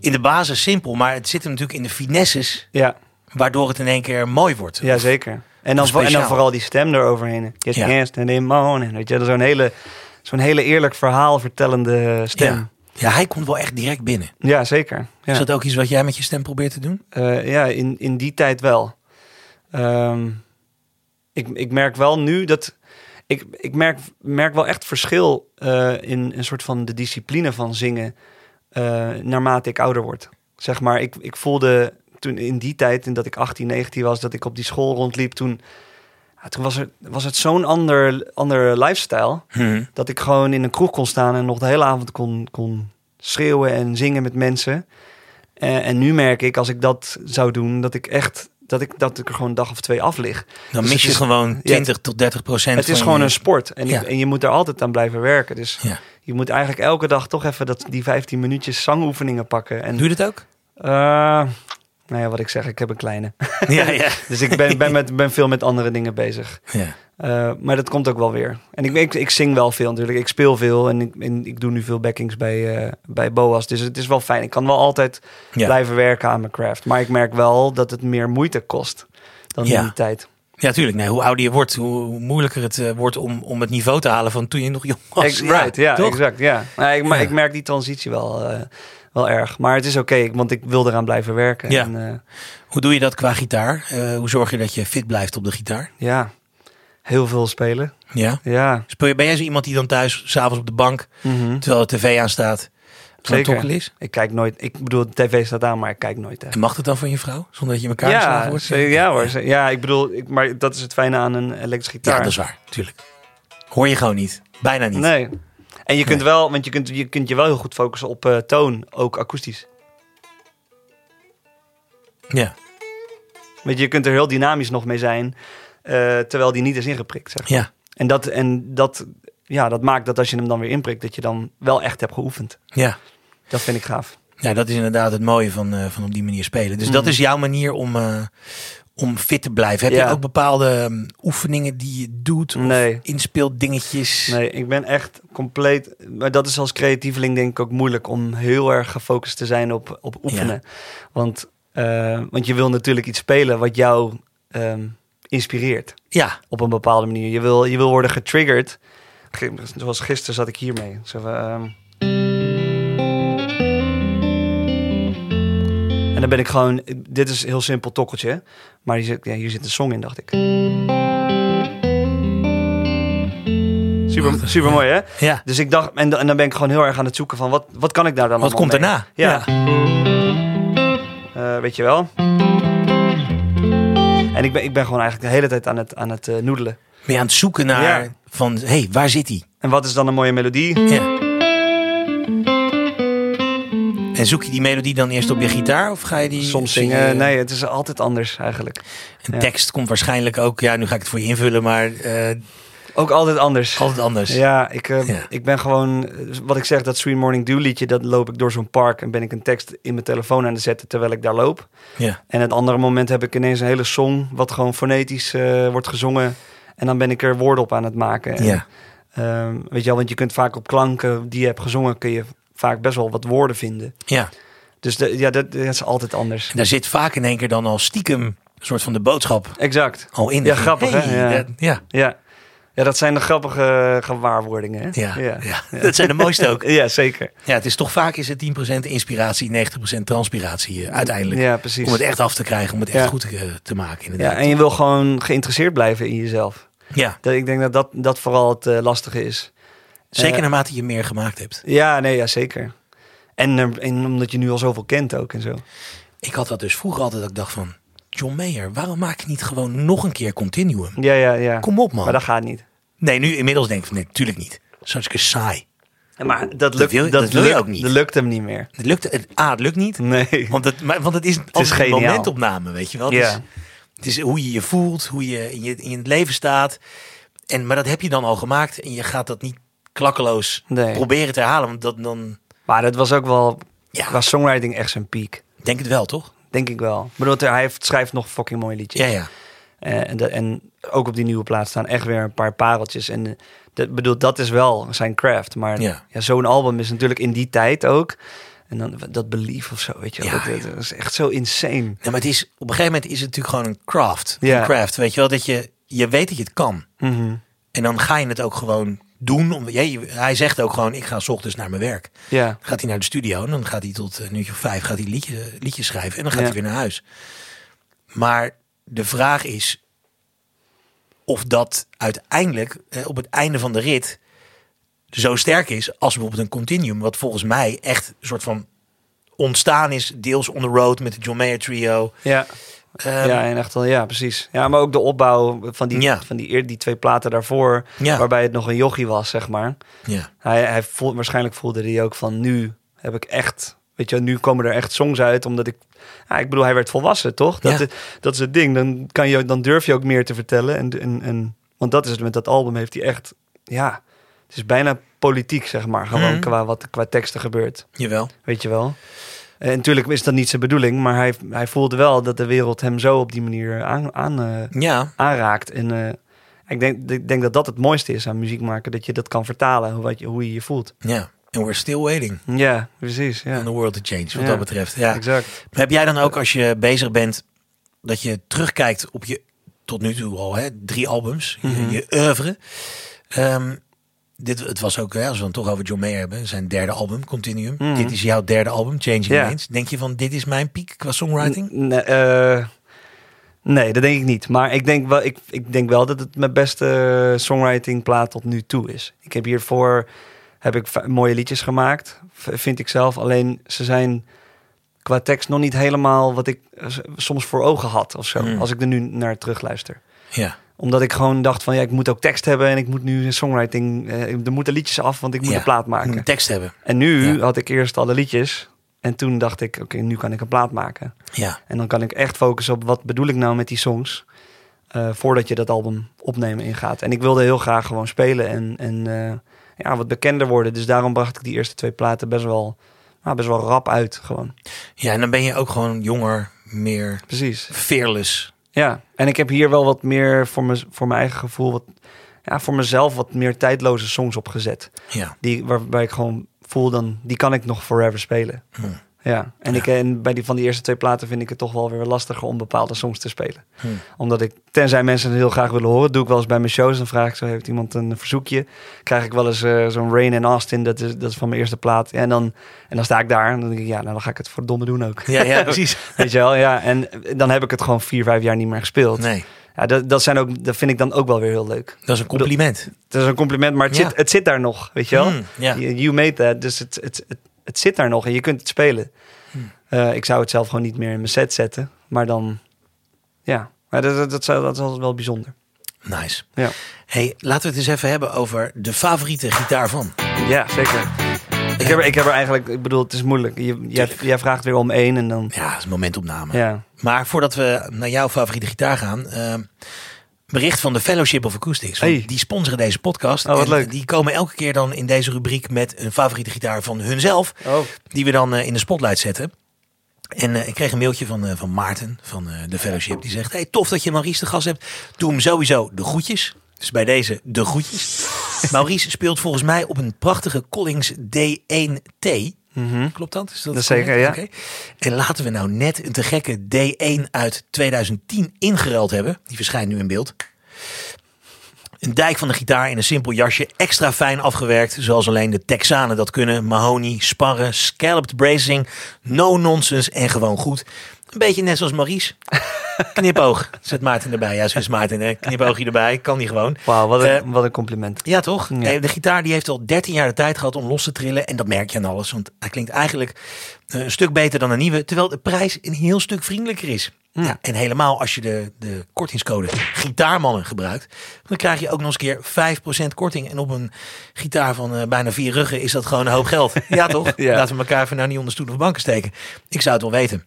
Speaker 1: in de basis simpel, maar het zit hem natuurlijk in de finesses,
Speaker 3: ja,
Speaker 1: waardoor het in één keer mooi wordt.
Speaker 3: ja, zeker. En dan,
Speaker 1: Of
Speaker 3: vo- en dan
Speaker 1: speciaal.
Speaker 3: vooral die stem eroverheen. Yes,
Speaker 1: Ja.
Speaker 3: yes, and amen. Weet je, dat is zo'n hele, zo'n hele eerlijk verhaal vertellende
Speaker 1: ja.
Speaker 3: stem. Ja,
Speaker 1: Ja, hij komt wel echt direct binnen.
Speaker 3: zeker. Ja,
Speaker 1: Is dat ook iets wat jij met je stem probeert te doen?
Speaker 3: Eh, ja in, in die tijd wel. Ehm, ik, ik merk wel nu dat... Ik, ik merk, merk wel echt verschil eh, in een soort van de discipline van zingen... eh, naarmate ik ouder word. Zeg maar, ik, ik voelde toen in die tijd, in dat ik 18, 19 was... dat ik op die school rondliep toen... Ja, toen was, er, was het zo'n ander, ander lifestyle.
Speaker 1: Hm.
Speaker 3: Dat ik gewoon in een kroeg kon staan en nog de hele avond kon, kon schreeuwen en zingen met mensen. Eh, en nu merk ik, als ik dat zou doen, dat ik echt dat ik, dat ik er gewoon een dag of twee af lig.
Speaker 1: Dan
Speaker 3: Dus
Speaker 1: mis je
Speaker 3: het is-
Speaker 1: gewoon 20 tot 30 procent.
Speaker 3: het is
Speaker 1: van
Speaker 3: gewoon
Speaker 1: je-
Speaker 3: een sport. En,
Speaker 1: Ja.
Speaker 3: ik, en je moet er altijd aan blijven werken. Dus
Speaker 1: Ja.
Speaker 3: je moet eigenlijk elke dag toch even dat, die 15 minuutjes zangoefeningen pakken. En,
Speaker 1: Doe je dat ook?
Speaker 3: eh, nou ja, wat ik zeg, ik heb een kleine.
Speaker 1: ja, ja.
Speaker 3: Dus ik ben, ben, met, ben veel met andere dingen bezig.
Speaker 1: ja.
Speaker 3: Eh, maar dat komt ook wel weer. En ik, ik, ik zing wel veel natuurlijk. Ik speel veel en ik, en ik doe nu veel backings bij, eh, bij BOA's. Dus het is wel fijn. Ik kan wel altijd
Speaker 1: Ja.
Speaker 3: blijven werken aan mijn craft. Maar ik merk wel dat het meer moeite kost dan
Speaker 1: Ja.
Speaker 3: in die tijd.
Speaker 1: Ja, tuurlijk. Nee, hoe ouder je wordt, hoe hoe moeilijker het eh, wordt om, om het niveau te halen van toen je nog jong was.
Speaker 3: Ex- right, ja,
Speaker 1: Oh, toch?
Speaker 3: exact. Ja. Maar ik, maar
Speaker 1: Ja.
Speaker 3: ik merk die transitie wel, eh, wel erg. Maar het is oké, ik- want ik wil eraan blijven werken.
Speaker 1: Ja.
Speaker 3: En, eh,
Speaker 1: Hoe doe je dat qua gitaar? Eh, hoe zorg je dat je fit blijft op de gitaar?
Speaker 3: ja, heel veel spelen.
Speaker 1: Ja.
Speaker 3: Ja,
Speaker 1: Speel je, ben jij zo iemand die dan thuis s'avonds op de bank,
Speaker 3: Mhm.
Speaker 1: terwijl de tv aanstaat, aan het
Speaker 3: Zeker.
Speaker 1: tokkelen is?
Speaker 3: ik kijk nooit. Ik bedoel, de tv staat aan, maar ik kijk nooit echt.
Speaker 1: En mag dat dan van je vrouw? Zonder dat je in elkaar geslagen
Speaker 3: Ja,
Speaker 1: wordt?
Speaker 3: ze- ja hoor. Ze- Ja, ik bedoel, ik, maar dat is het fijne aan een elektrische
Speaker 1: Ja,
Speaker 3: gitaar.
Speaker 1: dat is waar. Tuurlijk. Hoor je gewoon niet. Bijna niet.
Speaker 3: Nee. En je kunt wel, want je kunt je, kunt je wel heel goed focussen op eh, toon, ook akoestisch.
Speaker 1: Ja.
Speaker 3: Want je kunt er heel dynamisch nog mee zijn, eh, terwijl die niet is ingeprikt. Zeg.
Speaker 1: Ja.
Speaker 3: En, dat, en dat, ja, dat maakt dat als je hem dan weer inprikt, dat je dan wel echt hebt geoefend.
Speaker 1: Ja.
Speaker 3: Dat vind ik gaaf.
Speaker 1: Ja, dat is inderdaad het mooie van, eh, van op die manier spelen. Dus dat
Speaker 3: Mm.
Speaker 1: is jouw manier om, eh, om fit te blijven. Heb
Speaker 3: Ja.
Speaker 1: je ook bepaalde mm, oefeningen die je doet? Of
Speaker 3: Nee.
Speaker 1: inspeelt dingetjes?
Speaker 3: Nee, ik ben echt compleet. Maar dat is als creatieveling denk ik ook moeilijk om heel erg gefocust te zijn op, op oefenen. Want, eh, want je wil natuurlijk iets spelen wat jou ehm, inspireert.
Speaker 1: Ja,
Speaker 3: op een bepaalde manier. Je wil, je wil worden getriggerd. Ge- Zoals gisteren zat ik hiermee. Zo van, ehm. En dan ben ik gewoon... Dit is een heel simpel tokkeltje. Maar hier zit, ja, hier zit een song in, dacht ik. Super, super mooi, hè?
Speaker 1: ja.
Speaker 3: Dus ik dacht... En, dan- en dan ben ik gewoon heel erg aan het zoeken van... Wat, wat kan ik daar dan
Speaker 1: Wat
Speaker 3: allemaal
Speaker 1: komt
Speaker 3: mee?
Speaker 1: daarna?
Speaker 3: Ja. Eh, weet je wel? En ik ben, ik ben gewoon eigenlijk de hele tijd aan het, aan het eh, noedelen.
Speaker 1: Ben je aan het zoeken naar
Speaker 3: Ja.
Speaker 1: van, hé, hey, waar zit hij?
Speaker 3: En wat is dan een mooie melodie?
Speaker 1: Ja. En zoek je die melodie dan eerst op je gitaar? Of ga je die...
Speaker 3: Soms
Speaker 1: zing je-
Speaker 3: zingen. Nee, het is altijd anders eigenlijk.
Speaker 1: Een
Speaker 3: ja.
Speaker 1: tekst komt waarschijnlijk ook... Ja, nu ga ik het voor je invullen, maar eh,
Speaker 3: Ook altijd anders.
Speaker 1: altijd anders.
Speaker 3: Ja, ik, eh,
Speaker 1: Ja.
Speaker 3: ik ben gewoon, eh, wat ik zeg, dat Sweet Morning Dew liedje, dat loop ik door zo'n park en ben ik een tekst in mijn telefoon aan het zetten terwijl ik daar loop.
Speaker 1: Ja.
Speaker 3: En het andere moment heb ik ineens een hele song, wat gewoon fonetisch eh, wordt gezongen. En dan ben ik er woorden op aan het maken. En,
Speaker 1: Ja.
Speaker 3: ehm, weet je wel, want je kunt vaak op klanken die je hebt gezongen, kun je vaak best wel wat woorden vinden.
Speaker 1: ja.
Speaker 3: Dus de- ja, dat, dat is altijd anders.
Speaker 1: En daar zit vaak in één keer dan al stiekem... een soort van de boodschap
Speaker 3: Exact.
Speaker 1: al in.
Speaker 3: Ja, grappig,
Speaker 1: Hey,
Speaker 3: hè? Ja.
Speaker 1: dat- ja.
Speaker 3: Ja. ja, dat zijn de grappige gewaarwordingen. Hè?
Speaker 1: Ja, ja. dat zijn de mooiste ook.
Speaker 3: Ja, zeker.
Speaker 1: Ja, het is toch vaak is het 10% inspiratie, 90% transpiratie eh, uiteindelijk.
Speaker 3: Ja, precies.
Speaker 1: Om het echt af te krijgen, om het echt
Speaker 3: Ja.
Speaker 1: goed eh, te, te maken
Speaker 3: ja,
Speaker 1: inderdaad.
Speaker 3: en je wil gewoon geïnteresseerd blijven in jezelf.
Speaker 1: Ja,
Speaker 3: Dat, ik denk dat, dat dat vooral het eh, lastige is.
Speaker 1: zeker
Speaker 3: Eh,
Speaker 1: naarmate je meer gemaakt hebt.
Speaker 3: Ja, nee, ja, zeker. En, eh, en omdat je nu al zoveel kent ook en zo.
Speaker 1: Ik had dat dus vroeger altijd, dat ik dacht van... John Mayer, waarom maak je niet gewoon nog een keer Continuum?
Speaker 3: Ja, ja, ja.
Speaker 1: Kom op man.
Speaker 3: Maar dat gaat niet.
Speaker 1: Nee, nu inmiddels denk ik van nee, natuurlijk niet. Dat is hartstikke saai.
Speaker 3: En Maar dat lukt,
Speaker 1: wil- dat wil je
Speaker 3: lukt,
Speaker 1: ook niet.
Speaker 3: Dat lukt hem niet meer.
Speaker 1: Het lukt, het, A, het lukt niet.
Speaker 3: Nee.
Speaker 1: Want het, maar, want het is, altijd een
Speaker 3: geniaal.
Speaker 1: momentopname, weet je wel. Het,
Speaker 3: Ja.
Speaker 1: is, het is hoe je je voelt, hoe je in, je in het leven staat. En, maar dat heb je dan al gemaakt. En je gaat dat niet klakkeloos
Speaker 3: Nee.
Speaker 1: proberen te herhalen. Want dat dan...
Speaker 3: Maar dat was ook wel
Speaker 1: Ja.
Speaker 3: qua songwriting echt zijn piek.
Speaker 1: Ik Denk het wel, toch?
Speaker 3: Denk ik wel. Ik bedoel, hij heeft, schrijft nog fucking mooie liedjes.
Speaker 1: Ja, ja.
Speaker 3: Eh, en, de- en ook op die nieuwe plaats staan echt weer een paar pareltjes. En eh, dat, bedoel, dat is wel zijn craft. Maar
Speaker 1: Ja.
Speaker 3: ja. zo'n album is natuurlijk in die tijd ook. En dan dat belief of zo, weet je wel.
Speaker 1: Ja,
Speaker 3: dat, dat is echt zo insane.
Speaker 1: Nee, maar het is, op een gegeven moment is het natuurlijk gewoon een craft.
Speaker 3: Ja.
Speaker 1: Een craft, weet je wel. Dat je, je weet dat je het kan.
Speaker 3: Mhm.
Speaker 1: En dan ga je het ook gewoon doen. Om, ja, je- hij zegt ook gewoon, ik ga 's ochtends naar mijn werk.
Speaker 3: Ja,
Speaker 1: gaat hij naar de studio en dan gaat hij tot eh, een uurtje of vijf gaat hij liedje, liedjes schrijven en dan gaat
Speaker 3: Ja.
Speaker 1: hij weer naar huis. Maar de vraag is of dat uiteindelijk eh, op het einde van de rit zo sterk is als bijvoorbeeld een continuum, wat volgens mij echt een soort van ontstaan is, deels on the road met de John Mayer trio.
Speaker 3: ja.
Speaker 1: Ehm,
Speaker 3: ja, en echt al, ja, precies. Ja, maar ook de opbouw van die,
Speaker 1: Ja.
Speaker 3: van die, eer- die twee platen daarvoor,
Speaker 1: Ja.
Speaker 3: waarbij het nog een jochie was, zeg maar.
Speaker 1: ja.
Speaker 3: Hij, hij voel, waarschijnlijk voelde hij ook van, nu heb ik echt, weet je, nu komen er echt songs uit, omdat ik, ja, ik bedoel, hij werd volwassen, toch? Dat,
Speaker 1: Ja.
Speaker 3: is, dat is het ding, dan, kan je, dan durf je ook meer te vertellen. En, en, en, want dat is het, met dat album heeft hij echt, ja, het is bijna politiek, zeg maar, gewoon
Speaker 1: Mhm.
Speaker 3: qua, wat, qua teksten gebeurt.
Speaker 1: Jawel.
Speaker 3: Weet je wel. En natuurlijk is dat niet zijn bedoeling, maar hij, hij voelde wel dat de wereld hem zo op die manier aan, aan, eh,
Speaker 1: Ja.
Speaker 3: aanraakt. En eh, ik, denk, ik denk dat dat het mooiste is aan muziek maken, dat je dat kan vertalen, hoe, wat je, hoe je je voelt.
Speaker 1: Ja. And we're still waiting
Speaker 3: Ja, precies. Ja,
Speaker 1: on the world to change, wat
Speaker 3: Ja.
Speaker 1: dat betreft. Ja.
Speaker 3: exact.
Speaker 1: Maar heb jij dan ook als je bezig bent dat je terugkijkt op je tot nu toe al hè, drie albums, je-
Speaker 3: Mhm.
Speaker 1: je oeuvre. Ehm, dit, het was ook, hè, als we het toch over John Mayer hebben, zijn derde album, Continuum.
Speaker 3: Mhm.
Speaker 1: Dit is jouw derde album, Changing
Speaker 3: Ja.
Speaker 1: Lanes. Denk je van, dit is mijn piek qua songwriting?
Speaker 3: N- nee, eh, nee, dat denk ik niet. Maar ik denk wel, ik, ik denk wel dat het mijn beste songwriting plaat tot nu toe is. Ik heb hiervoor heb ik fi- mooie liedjes gemaakt, v- vind ik zelf. Alleen ze zijn qua tekst nog niet helemaal wat ik eh, s- soms voor ogen had of zo.
Speaker 1: Mm.
Speaker 3: Als ik er nu naar terugluister
Speaker 1: Ja,
Speaker 3: omdat ik gewoon dacht van ja, ik moet ook tekst hebben en ik moet nu een songwriting. eh, er moeten liedjes af, want ik moet
Speaker 1: Ja.
Speaker 3: een plaat
Speaker 1: ik moet een
Speaker 3: maken.
Speaker 1: tekst hebben.
Speaker 3: En nu
Speaker 1: Ja.
Speaker 3: had ik eerst alle liedjes. En toen dacht ik, oké, nu kan ik een plaat maken.
Speaker 1: Ja,
Speaker 3: En dan kan ik echt focussen op wat bedoel ik nou met die songs. eh, voordat je dat album opnemen ingaat. En ik wilde heel graag gewoon spelen en, en eh, ja, wat bekender worden. Dus daarom bracht ik die eerste twee platen best wel, nou, best wel rap uit. Gewoon.
Speaker 1: ja, en dan ben je ook gewoon jonger, meer
Speaker 3: Precies.
Speaker 1: fearless.
Speaker 3: Ja. En ik heb hier wel wat meer voor, mez- voor mijn eigen gevoel. Wat, ja, voor mezelf wat meer tijdloze songs opgezet.
Speaker 1: Ja,
Speaker 3: Die, waarbij ik gewoon voel dan, die kan ik nog forever spelen.
Speaker 1: Hm.
Speaker 3: Ja, en, Ik, en bij die van die eerste twee platen vind ik het toch wel weer lastiger om bepaalde songs te spelen.
Speaker 1: Hmm.
Speaker 3: Omdat ik, tenzij mensen het heel graag willen horen, doe ik wel eens bij mijn shows. Dan vraag ik zo, heeft iemand een verzoekje? Krijg ik wel eens eh, zo'n Rain in Austin, dat is, dat is van mijn eerste plaat. Ja, en, dan, en dan sta ik daar en dan denk ik, ja, nou, dan ga ik het voor domme doen ook.
Speaker 1: ja, ja precies.
Speaker 3: Weet je wel, ja. En dan heb ik het gewoon vier, vijf jaar niet meer gespeeld.
Speaker 1: Nee,
Speaker 3: Ja, dat, dat, zijn ook, dat vind ik dan ook wel weer heel leuk.
Speaker 1: dat is een compliment.
Speaker 3: Het is een compliment, maar het,
Speaker 1: Ja.
Speaker 3: zit, het zit daar nog, weet je wel.
Speaker 1: Hm, ja.
Speaker 3: You, you made that, dus het, het, het, het zit daar nog en je kunt het spelen.
Speaker 1: Hmm.
Speaker 3: Eh, ik zou het zelf gewoon niet meer in mijn set zetten, maar dan, ja. Maar dat, dat, dat, zou- dat is altijd wel bijzonder.
Speaker 1: Nice.
Speaker 3: Ja,
Speaker 1: Hey, laten we het eens even hebben over de favoriete gitaar van.
Speaker 3: ja zeker. Ik heb, er- ik heb er eigenlijk, ik bedoel, het is moeilijk. Je, jij, jij vraagt weer om één en dan,
Speaker 1: Ja, dat is een momentopname.
Speaker 3: ja.
Speaker 1: Maar voordat we naar jouw favoriete gitaar gaan, ehm, bericht van de Fellowship of Acoustics. Want
Speaker 3: Hey.
Speaker 1: Die sponsoren deze podcast.
Speaker 3: Oh, wat
Speaker 1: en
Speaker 3: leuk.
Speaker 1: Die komen elke keer dan in deze rubriek met een favoriete gitaar van hunzelf. Die we dan eh, in de spotlight zetten. En eh, ik kreeg een mailtje van, eh, van Maarten van eh, de Fellowship. Die zegt, hey, tof dat je Maurice de gast hebt. Doe hem sowieso de groetjes. Dus bij deze de groetjes. Maurice speelt volgens mij op een prachtige Collins D1T. Klopt dat? Is dat
Speaker 3: Mhm. Dat zeker,
Speaker 1: correct?
Speaker 3: ja.
Speaker 1: Oké. En laten we nou net een te gekke D1 uit 2010 ingeruild hebben. Die verschijnt nu in beeld. Een dijk van de gitaar in een simpel jasje, extra fijn afgewerkt, zoals alleen de Texanen dat kunnen. Mahoney, sparren, scalloped bracing, no nonsense en gewoon goed. Een beetje net zoals Maurice. Knipoog, zet Maarten erbij. Ja, zo is Maarten. hè. Knipoogje erbij, kan die gewoon.
Speaker 3: Wauw, wat, een-
Speaker 1: Eh,
Speaker 3: wat een compliment.
Speaker 1: Ja, toch?
Speaker 3: Ja.
Speaker 1: Eh, De gitaar die heeft al 13 jaar de tijd gehad om los te trillen. En dat merk je aan alles, want hij klinkt eigenlijk eh, een stuk beter dan een nieuwe. Terwijl de prijs een heel stuk vriendelijker is.
Speaker 3: Hm.
Speaker 1: Ja, en helemaal als je de, de kortingscode Gitaarmannen gebruikt, dan krijg je ook nog eens een keer 5% korting. En op een gitaar van eh, bijna vier ruggen is dat gewoon een hoop geld. Ja, toch?
Speaker 3: Ja.
Speaker 1: Laten we elkaar even nou niet onder stoelen of banken steken. Ik zou het wel weten.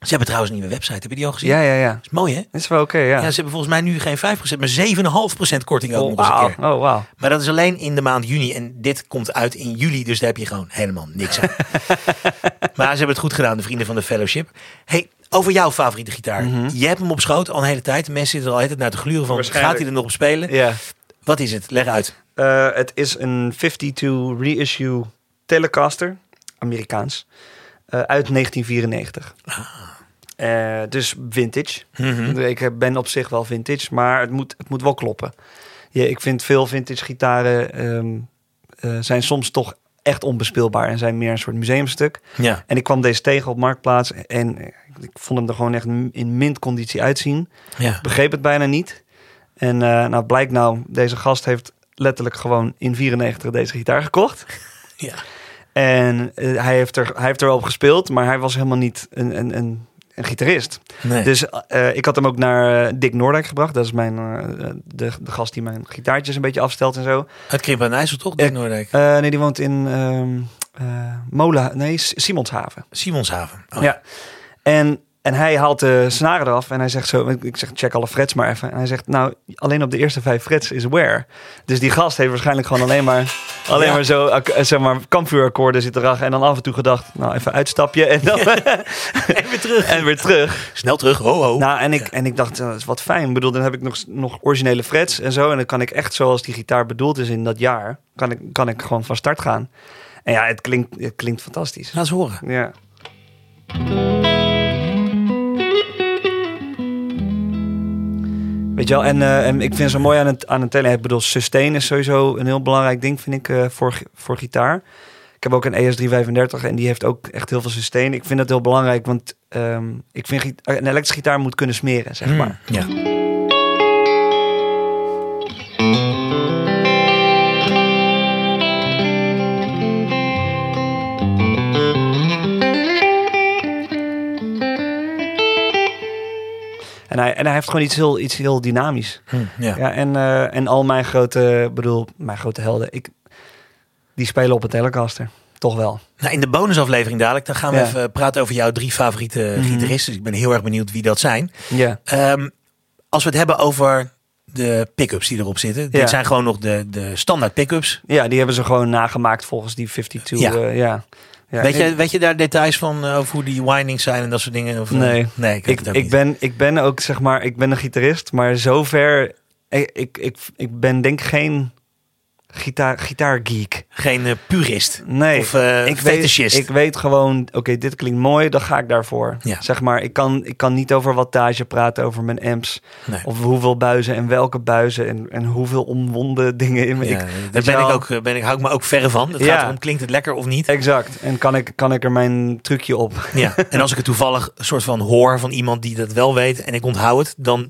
Speaker 1: Ze hebben trouwens een nieuwe website. Heb je die al gezien?
Speaker 3: Ja, ja, ja.
Speaker 1: is mooi, hè?
Speaker 3: Is wel oké,
Speaker 1: Ja,
Speaker 3: ja.
Speaker 1: ze hebben volgens mij nu geen 5%, maar 7,5% korting ook
Speaker 3: Oh,
Speaker 1: nog eens een
Speaker 3: wauw.
Speaker 1: keer.
Speaker 3: Oh, wauw.
Speaker 1: Maar dat is alleen in de maand juni. En dit komt uit in juli. Dus daar heb je gewoon helemaal niks aan. maar ze hebben het goed gedaan, de vrienden van de fellowship. Hey, over jouw favoriete gitaar.
Speaker 3: Mhm.
Speaker 1: Je hebt hem op schoot al een hele tijd. Mensen zitten er al de hele tijd naar te gluren van...
Speaker 3: Waarschijnlijk.
Speaker 1: gaat hij er nog op spelen?
Speaker 3: Ja.
Speaker 1: Wat is het? Leg uit.
Speaker 3: Eh, het is een 52 reissue Telecaster, Amerikaans, eh, uit 1994. Eh, dus vintage.
Speaker 1: Mhm.
Speaker 3: Ik ben op zich wel vintage, maar het moet, het moet wel kloppen. Ja, ik vind veel vintage gitaren ehm, eh, zijn soms toch echt onbespeelbaar en zijn meer een soort museumstuk.
Speaker 1: Ja.
Speaker 3: En ik kwam deze tegen op Marktplaats en eh, ik vond hem er gewoon echt in mint conditie uitzien
Speaker 1: ja.
Speaker 3: begreep het bijna niet. En eh, nou blijkt nou, deze gast heeft letterlijk gewoon in 94 deze gitaar gekocht.
Speaker 1: ja.
Speaker 3: En eh, hij, heeft er, hij heeft er wel op gespeeld, maar hij was helemaal niet een, een, een een gitarist.
Speaker 1: Nee.
Speaker 3: Dus eh, ik had hem ook naar eh, Dick Noordijk gebracht. Dat is mijn, eh, de, de gast die mijn gitaartjes een beetje afstelt en zo.
Speaker 4: Uit Krimp en IJssel toch, Dick Noordijk?
Speaker 3: Eh, nee, die woont in ehm eh, Mola, nee, S- Simonshaven.
Speaker 4: Simonshaven. Oh,
Speaker 3: Ja. En, en hij haalt de snaren eraf en hij zegt zo, ik zeg check alle frets maar even. En hij zegt, nou, alleen op de eerste vijf frets is wear. Dus die gast heeft waarschijnlijk gewoon alleen maar, alleen maar zo, ak- eh, zeg maar, kampvuurakkoorden zitten erachter. En dan af en toe gedacht, nou, even uitstapje en dan
Speaker 1: En weer terug.
Speaker 3: en weer terug.
Speaker 1: Snel terug, ho ho.
Speaker 3: Nou, en ik, en ik dacht, eh, dat is wat fijn. Ik bedoel, dan heb ik nog, nog originele frets en zo. En dan kan ik echt zoals die gitaar bedoeld is in dat jaar, kan ik, kan ik gewoon van start gaan. En ja, het klinkt, het klinkt fantastisch.
Speaker 4: Laat eens horen.
Speaker 3: Ja. Weet je wel, en, eh, en ik vind zo mooi aan het, aan het tele. Ik bedoel, sustain is sowieso een heel belangrijk ding, vind ik, eh, voor, gi- voor gitaar. Ik heb ook een E ES335 en die heeft ook echt heel veel sustain. Ik vind dat heel belangrijk, want ehm, ik vind git- een elektrische gitaar moet kunnen smeren,
Speaker 1: Hmm.
Speaker 3: zeg maar.
Speaker 1: Mhm. Ja.
Speaker 3: En, hij, en hij heeft gewoon iets heel, iets heel dynamisch.
Speaker 4: Hm,
Speaker 1: Mhm.
Speaker 4: ja.
Speaker 3: Ja, en, eh, en al mijn grote, bedoel, mijn grote helden, ik, die spelen op een Telecaster. Toch wel.
Speaker 1: Nou, in de bonusaflevering dadelijk, dan gaan we
Speaker 3: Ja. Mhm.
Speaker 1: even praten over jouw drie favoriete gitaristen. Dus Ik ben heel erg benieuwd wie dat zijn.
Speaker 3: Ja.
Speaker 1: Ehm, als we het hebben over de pick-ups die erop zitten.
Speaker 3: Ja.
Speaker 1: Dit zijn gewoon nog de, de standaard pick-ups.
Speaker 3: Ja, die hebben ze gewoon nagemaakt volgens die 52.
Speaker 1: Ja.
Speaker 3: Ja. ja. ja
Speaker 1: weet,
Speaker 3: ik-
Speaker 1: je, weet je daar details van eh, over hoe die windings zijn en dat soort dingen? Of, eh,
Speaker 3: Nee.
Speaker 1: nee ik, weet
Speaker 3: Ik,
Speaker 1: het ook
Speaker 3: ik,
Speaker 1: niet.
Speaker 3: ben, ik ben ook, zeg maar, ik ben een gitarist, maar zover... Ik, ik, ik, ik ben denk ik geen gitaar, gitaargeek.
Speaker 1: geen eh, purist.
Speaker 3: Nee,
Speaker 1: Of, eh,
Speaker 3: ik, weet,
Speaker 1: fetishist.
Speaker 3: ik weet gewoon, oké, dit klinkt mooi, dan ga ik daarvoor.
Speaker 1: Ja.
Speaker 3: Zeg maar, ik kan, ik kan niet over wattage praten, over mijn amps.
Speaker 1: Nee.
Speaker 3: Of hoeveel buizen en welke buizen en, en hoeveel omwonden dingen in me.
Speaker 1: Ja,
Speaker 3: Ik-
Speaker 1: daar
Speaker 3: weet je
Speaker 1: ben ik
Speaker 3: wel?
Speaker 1: ook, eh, ben ik, hou ik me ook verre van. Het
Speaker 3: Ja.
Speaker 1: gaat erom, klinkt het lekker of niet?
Speaker 3: Exact. En kan ik, kan ik er mijn trucje op
Speaker 1: Ja. En als ik het toevallig een soort van hoor van iemand die dat wel weet en ik onthoud het, dan,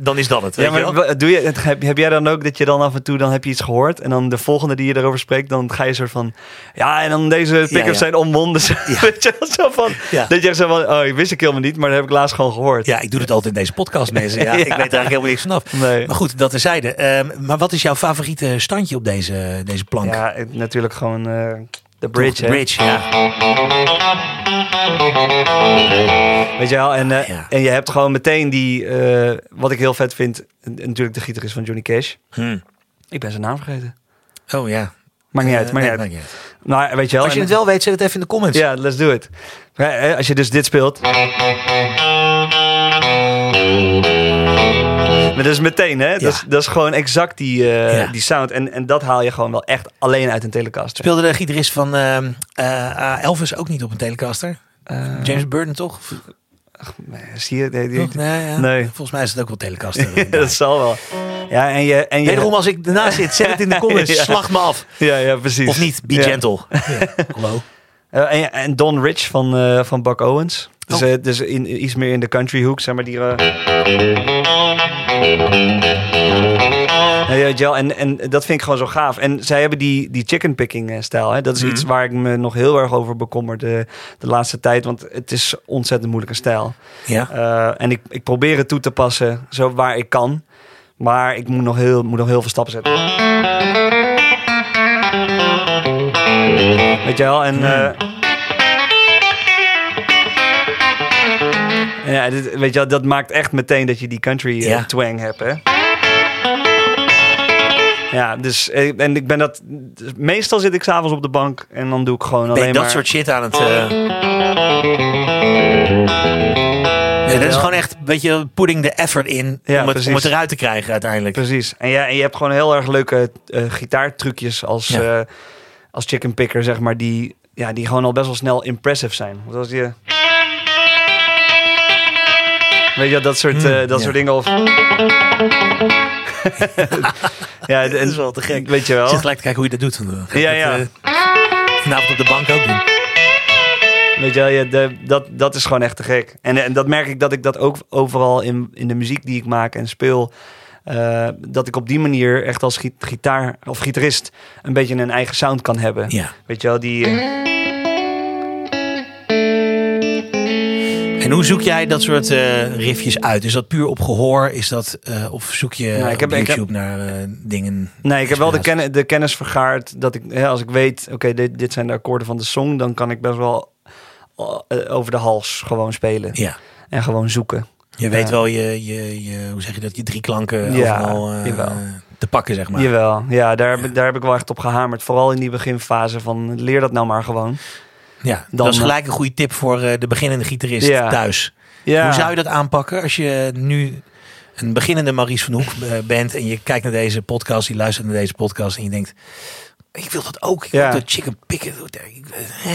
Speaker 1: dan is dat het.
Speaker 3: Ja,
Speaker 1: weet je wel?
Speaker 3: maar wa- doe je, het- heb, heb jij dan ook dat je dan af en toe dan heb je iets gehoord en dan de volgende die je erover spreekt, dan ga je soort van ja en dan deze pick-ups
Speaker 1: ja.
Speaker 3: zijn omwonden, zo, weet je wel, zo van
Speaker 1: Ja.
Speaker 3: dat je echt zo van oh ik wist ik helemaal niet, maar dat heb ik laatst gewoon gehoord.
Speaker 1: Ja, ik doe het altijd in deze podcast, mensen. Ja,
Speaker 3: Ja.
Speaker 1: Ik weet er eigenlijk helemaal niks vanaf.
Speaker 3: Nee.
Speaker 1: Maar goed, dat terzijde. Ehm maar wat is jouw favoriete standje op deze, deze plank?
Speaker 3: Ja, het- natuurlijk gewoon eh, de
Speaker 1: Toch,
Speaker 3: bridge, hè. Ah.
Speaker 1: bridge ja.
Speaker 3: weet je wel? En, eh,
Speaker 1: Ja.
Speaker 3: en je hebt gewoon meteen die eh, wat ik heel vet vind, en- en natuurlijk de gitarist van Johnny Cash.
Speaker 1: Hm.
Speaker 3: Ik ben zijn naam vergeten.
Speaker 1: Oh ja.
Speaker 3: Maakt niet uit,
Speaker 1: Eh,
Speaker 3: maar
Speaker 1: nee,
Speaker 3: niet uit.
Speaker 1: maakt niet uit.
Speaker 3: Maar weet je wel?
Speaker 1: Als je
Speaker 3: en-
Speaker 1: het wel weet, zet het even in de comments.
Speaker 3: Ja, let's do it. Ja, hè, Als je dus dit speelt. Maar dat is meteen, hè? Dat, is, dat is gewoon exact die, eh,
Speaker 1: Ja.
Speaker 3: die sound. En, en dat haal je gewoon wel echt alleen uit een telecaster.
Speaker 1: Speelde de gitarist van ehm, eh, eh, Elvis ook niet op een Telecaster?
Speaker 3: Eh,
Speaker 1: James Burton toch? Of-
Speaker 3: Zie je? Nee, die-
Speaker 1: toch? Nee, ja.
Speaker 3: nee.
Speaker 1: Volgens mij is het ook wel Telecaster.
Speaker 3: dat zal wel. Ja, en je... En je
Speaker 1: Wederom, als ik ernaast zit, zet het in de comments.
Speaker 3: Ja.
Speaker 1: Slag me af.
Speaker 3: ja, ja, precies.
Speaker 1: Of niet, be
Speaker 3: Ja.
Speaker 1: gentle. Ja. Hallo.
Speaker 3: Eh, en, en Don Rich van, eh, van Buck Owens. Dus, eh, dus in, iets meer in de country hoek, zeg maar. Die, eh. Nou ja, Jel, en, en dat vind ik gewoon zo gaaf. En zij hebben die, die chicken picking eh, stijl. Hè? Dat is iets waar ik me nog heel erg over bekommer de, de laatste tijd. Want het is ontzettend moeilijke stijl.
Speaker 1: Ja.
Speaker 3: Eh, en ik, ik probeer het toe te passen zo waar ik kan. Maar ik moet nog heel, moet nog heel veel stappen zetten. Weet je wel? En.
Speaker 1: Hmm.
Speaker 3: eh, eh, ja, dit, weet je wel, dat maakt echt meteen dat je die country eh,
Speaker 1: Ja.
Speaker 3: twang hebt, hè? Ja, dus eh, en ik ben dat. dus meestal zit ik s'avonds op de bank en dan doe ik gewoon
Speaker 1: Ben
Speaker 3: alleen
Speaker 1: je dat
Speaker 3: maar.
Speaker 1: soort shit aan het... eh, Nee, dat is gewoon echt, weet je, putting the effort in
Speaker 3: Ja,
Speaker 1: om, het, om
Speaker 3: precies.
Speaker 1: het eruit te krijgen uiteindelijk.
Speaker 3: Precies. En, ja, en je hebt gewoon heel erg leuke eh, gitaartrucjes als,
Speaker 1: Ja.
Speaker 3: eh, als chicken picker, zeg maar, die, ja, die gewoon al best wel snel impressive zijn. Want als je... Weet je, dat soort, eh, dat
Speaker 1: Hmm, ja.
Speaker 3: soort dingen. Of... ja, dat
Speaker 1: is wel te gek.
Speaker 3: Weet je
Speaker 1: Ik
Speaker 3: wel?
Speaker 1: zit gelijk te kijken hoe je dat doet. Dan ga ik
Speaker 3: Ja,
Speaker 1: dat,
Speaker 3: ja.
Speaker 1: eh, vanavond op de bank ook doen.
Speaker 3: Weet je wel, ja, de- dat, dat is gewoon echt te gek. En, en dat merk ik dat ik dat ook overal in, in de muziek die ik maak en speel. eh, dat ik op die manier echt als gi- gitaar of gitarist een beetje een eigen sound kan hebben.
Speaker 1: Ja.
Speaker 3: Weet je wel, die. eh,
Speaker 1: En En hoe zoek jij dat soort eh riffjes uit? Is dat puur op gehoor? Is dat, eh, of zoek je
Speaker 3: Nou, ik
Speaker 1: op
Speaker 3: heb- ik heb-
Speaker 1: YouTube naar eh, dingen?
Speaker 3: Nee, ik heb wel de,
Speaker 1: inspiratie?
Speaker 3: ken- de kennis vergaard dat ik, hè, als ik weet, oké, dit, dit zijn de akkoorden van de song, dan kan ik best wel eh, over de hals gewoon spelen
Speaker 1: Ja,
Speaker 3: en gewoon zoeken.
Speaker 1: je weet
Speaker 3: Ja.
Speaker 1: wel je, je, je, hoe zeg je dat, je drie klanken
Speaker 3: Ja,
Speaker 1: overal eh,
Speaker 3: jawel.
Speaker 1: te pakken, zeg maar.
Speaker 3: Jawel, ja daar, heb ik- daar heb ik wel echt op gehamerd. Vooral in die beginfase van leer dat nou maar gewoon.
Speaker 1: Ja,
Speaker 3: Dan,
Speaker 1: dat is
Speaker 3: eh,
Speaker 1: gelijk een goede tip voor eh, de beginnende gitarist
Speaker 3: Ja.
Speaker 1: thuis.
Speaker 3: Ja.
Speaker 1: Hoe zou je dat aanpakken als je nu een beginnende Maries van Hoek eh, bent en je kijkt naar deze podcast, je luistert naar deze podcast en je denkt, ik wil dat ook. Ik
Speaker 3: Ja.
Speaker 1: wil dat chicken picken. Ik- eh,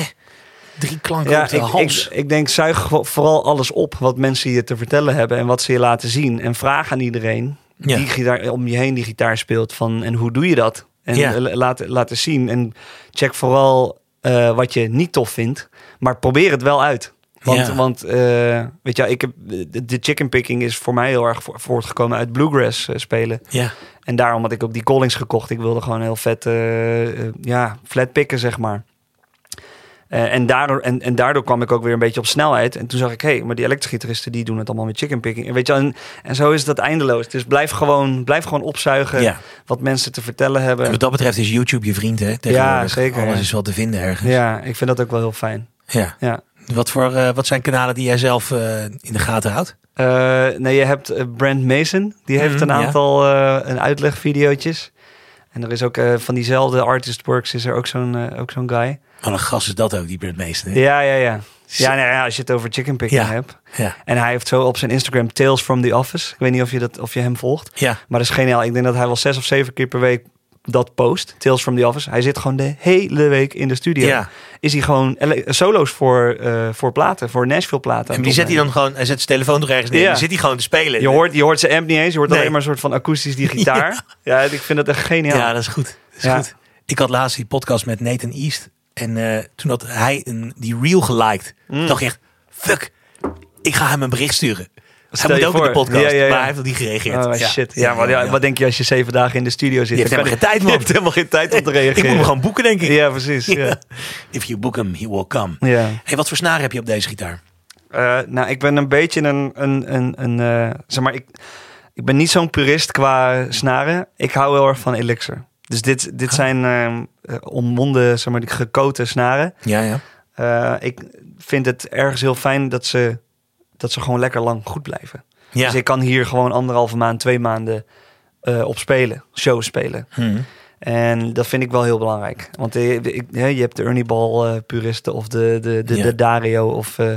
Speaker 1: Drie klanken
Speaker 3: Ja,
Speaker 1: op de
Speaker 3: ik,
Speaker 1: hals.
Speaker 3: ik, ik denk, zuig vo- vooral alles op wat mensen je te vertellen hebben en wat ze je laten zien. En vraag aan iedereen
Speaker 1: Ja.
Speaker 3: die gitaar, om je heen die gitaar speelt van en hoe doe je dat? En
Speaker 1: Ja.
Speaker 3: eh, la- laat, laat eens zien. En check vooral eh, wat je niet tof vindt, maar probeer het wel uit. Want,
Speaker 1: Ja.
Speaker 3: want eh, weet je, wel, ik heb, de de chicken picking is voor mij heel erg vo- voortgekomen uit bluegrass eh, spelen.
Speaker 1: ja.
Speaker 3: En daarom had ik ook die Collings gekocht. Ik wilde gewoon heel vet, eh, eh, ja, flat picken, zeg maar. Eh, en, daardoor, en, en daardoor kwam ik ook weer een beetje op snelheid. En toen zag ik, hé, hey, maar die elektrische gitaristen die doen het allemaal met chicken picking. En, weet je, wel, en, en zo is dat eindeloos. Dus blijf gewoon, blijf gewoon opzuigen
Speaker 1: ja.
Speaker 3: wat mensen te vertellen hebben.
Speaker 1: En wat dat betreft is YouTube je vriend, hè? Tegenwoordig.
Speaker 3: Ja, zeker,
Speaker 1: Alles
Speaker 3: ja.
Speaker 1: is wel te vinden ergens. Ja.
Speaker 3: Ja, ik vind dat ook wel heel fijn. Ja.
Speaker 1: Wat, voor, eh, wat zijn kanalen die jij zelf eh, in de gaten houdt?
Speaker 3: Eh, nee, je hebt eh, Brand Mason. Die heeft
Speaker 1: Mhm,
Speaker 3: een
Speaker 1: ja.
Speaker 3: aantal eh, een uitlegvideootjes. En er is ook eh, van diezelfde Artist Works is er ook zo'n eh, ook zo'n guy.
Speaker 1: Wat een gast is dat ook, die Brent Meester.
Speaker 3: Ja, ja, ja. Ja, nou ja, als je het over chicken picking
Speaker 1: Ja.
Speaker 3: hebt.
Speaker 1: Ja.
Speaker 3: En hij heeft zo op zijn Instagram Tales from the Office. Ik weet niet of je, dat, of je hem volgt.
Speaker 1: ja.
Speaker 3: Maar dat is geniaal. Ik denk dat hij wel zes of zeven keer per week dat post. Tales from the Office. Hij zit gewoon de hele week in de studio.
Speaker 1: Ja.
Speaker 3: Is hij gewoon ele- solo's voor, eh, voor platen, voor Nashville platen.
Speaker 1: En die zet hij dan gewoon, hij zet zijn telefoon toch ergens neer.
Speaker 3: Ja.
Speaker 1: en Dan zit hij gewoon te spelen.
Speaker 3: Je hoort, je hoort zijn amp niet eens. Je hoort
Speaker 1: Nee.
Speaker 3: alleen maar een soort van akoestisch die gitaar. Ja. ik vind dat echt geniaal.
Speaker 1: Ja, dat is goed. Dat is
Speaker 3: Ja.
Speaker 1: goed. Ik had laatst die podcast met Nathan East. En eh, toen had hij een, die reel geliked.
Speaker 3: Mm.
Speaker 1: Toen dacht ik echt, fuck, ik ga hem een bericht sturen. Hij
Speaker 3: Stel
Speaker 1: moet
Speaker 3: je
Speaker 1: ook in
Speaker 3: voor.
Speaker 1: de podcast,
Speaker 3: Ja, ja, ja.
Speaker 1: maar hij heeft nog niet gereageerd.
Speaker 3: Oh, shit. Ja, maar ja, wat denk je als je zeven dagen in de studio zit?
Speaker 1: Je hebt
Speaker 3: Dan kan
Speaker 1: helemaal geen tijd,
Speaker 3: je-
Speaker 1: man.
Speaker 3: Je hebt helemaal geen tijd om te
Speaker 1: Ik moet
Speaker 3: reageren.
Speaker 1: hem gewoon boeken, denk ik.
Speaker 3: Ja, precies. Ja.
Speaker 1: If you book him, he will come.
Speaker 3: Ja.
Speaker 1: Hey, wat voor snaren heb je op deze gitaar?
Speaker 3: Eh, nou, ik ben een beetje een. een, een, een eh, zeg maar, ik, ik ben niet zo'n purist qua snaren. Ik hou heel erg van Elixir. Dus dit, dit zijn ehm, eh omwonden, zeg maar, die gekoten snaren.
Speaker 1: Ja, ja.
Speaker 3: Eh, ik vind het ergens heel fijn dat ze, dat ze gewoon lekker lang goed blijven.
Speaker 1: ja.
Speaker 3: Dus ik kan hier gewoon anderhalve maand, twee maanden eh, op spelen, show spelen.
Speaker 1: Hmm.
Speaker 3: En dat vind ik wel heel belangrijk. Want eh, ik- hè, je hebt de Ernie Ball eh, puristen of de, de, de,
Speaker 1: Ja.
Speaker 3: de Dario. Of, eh,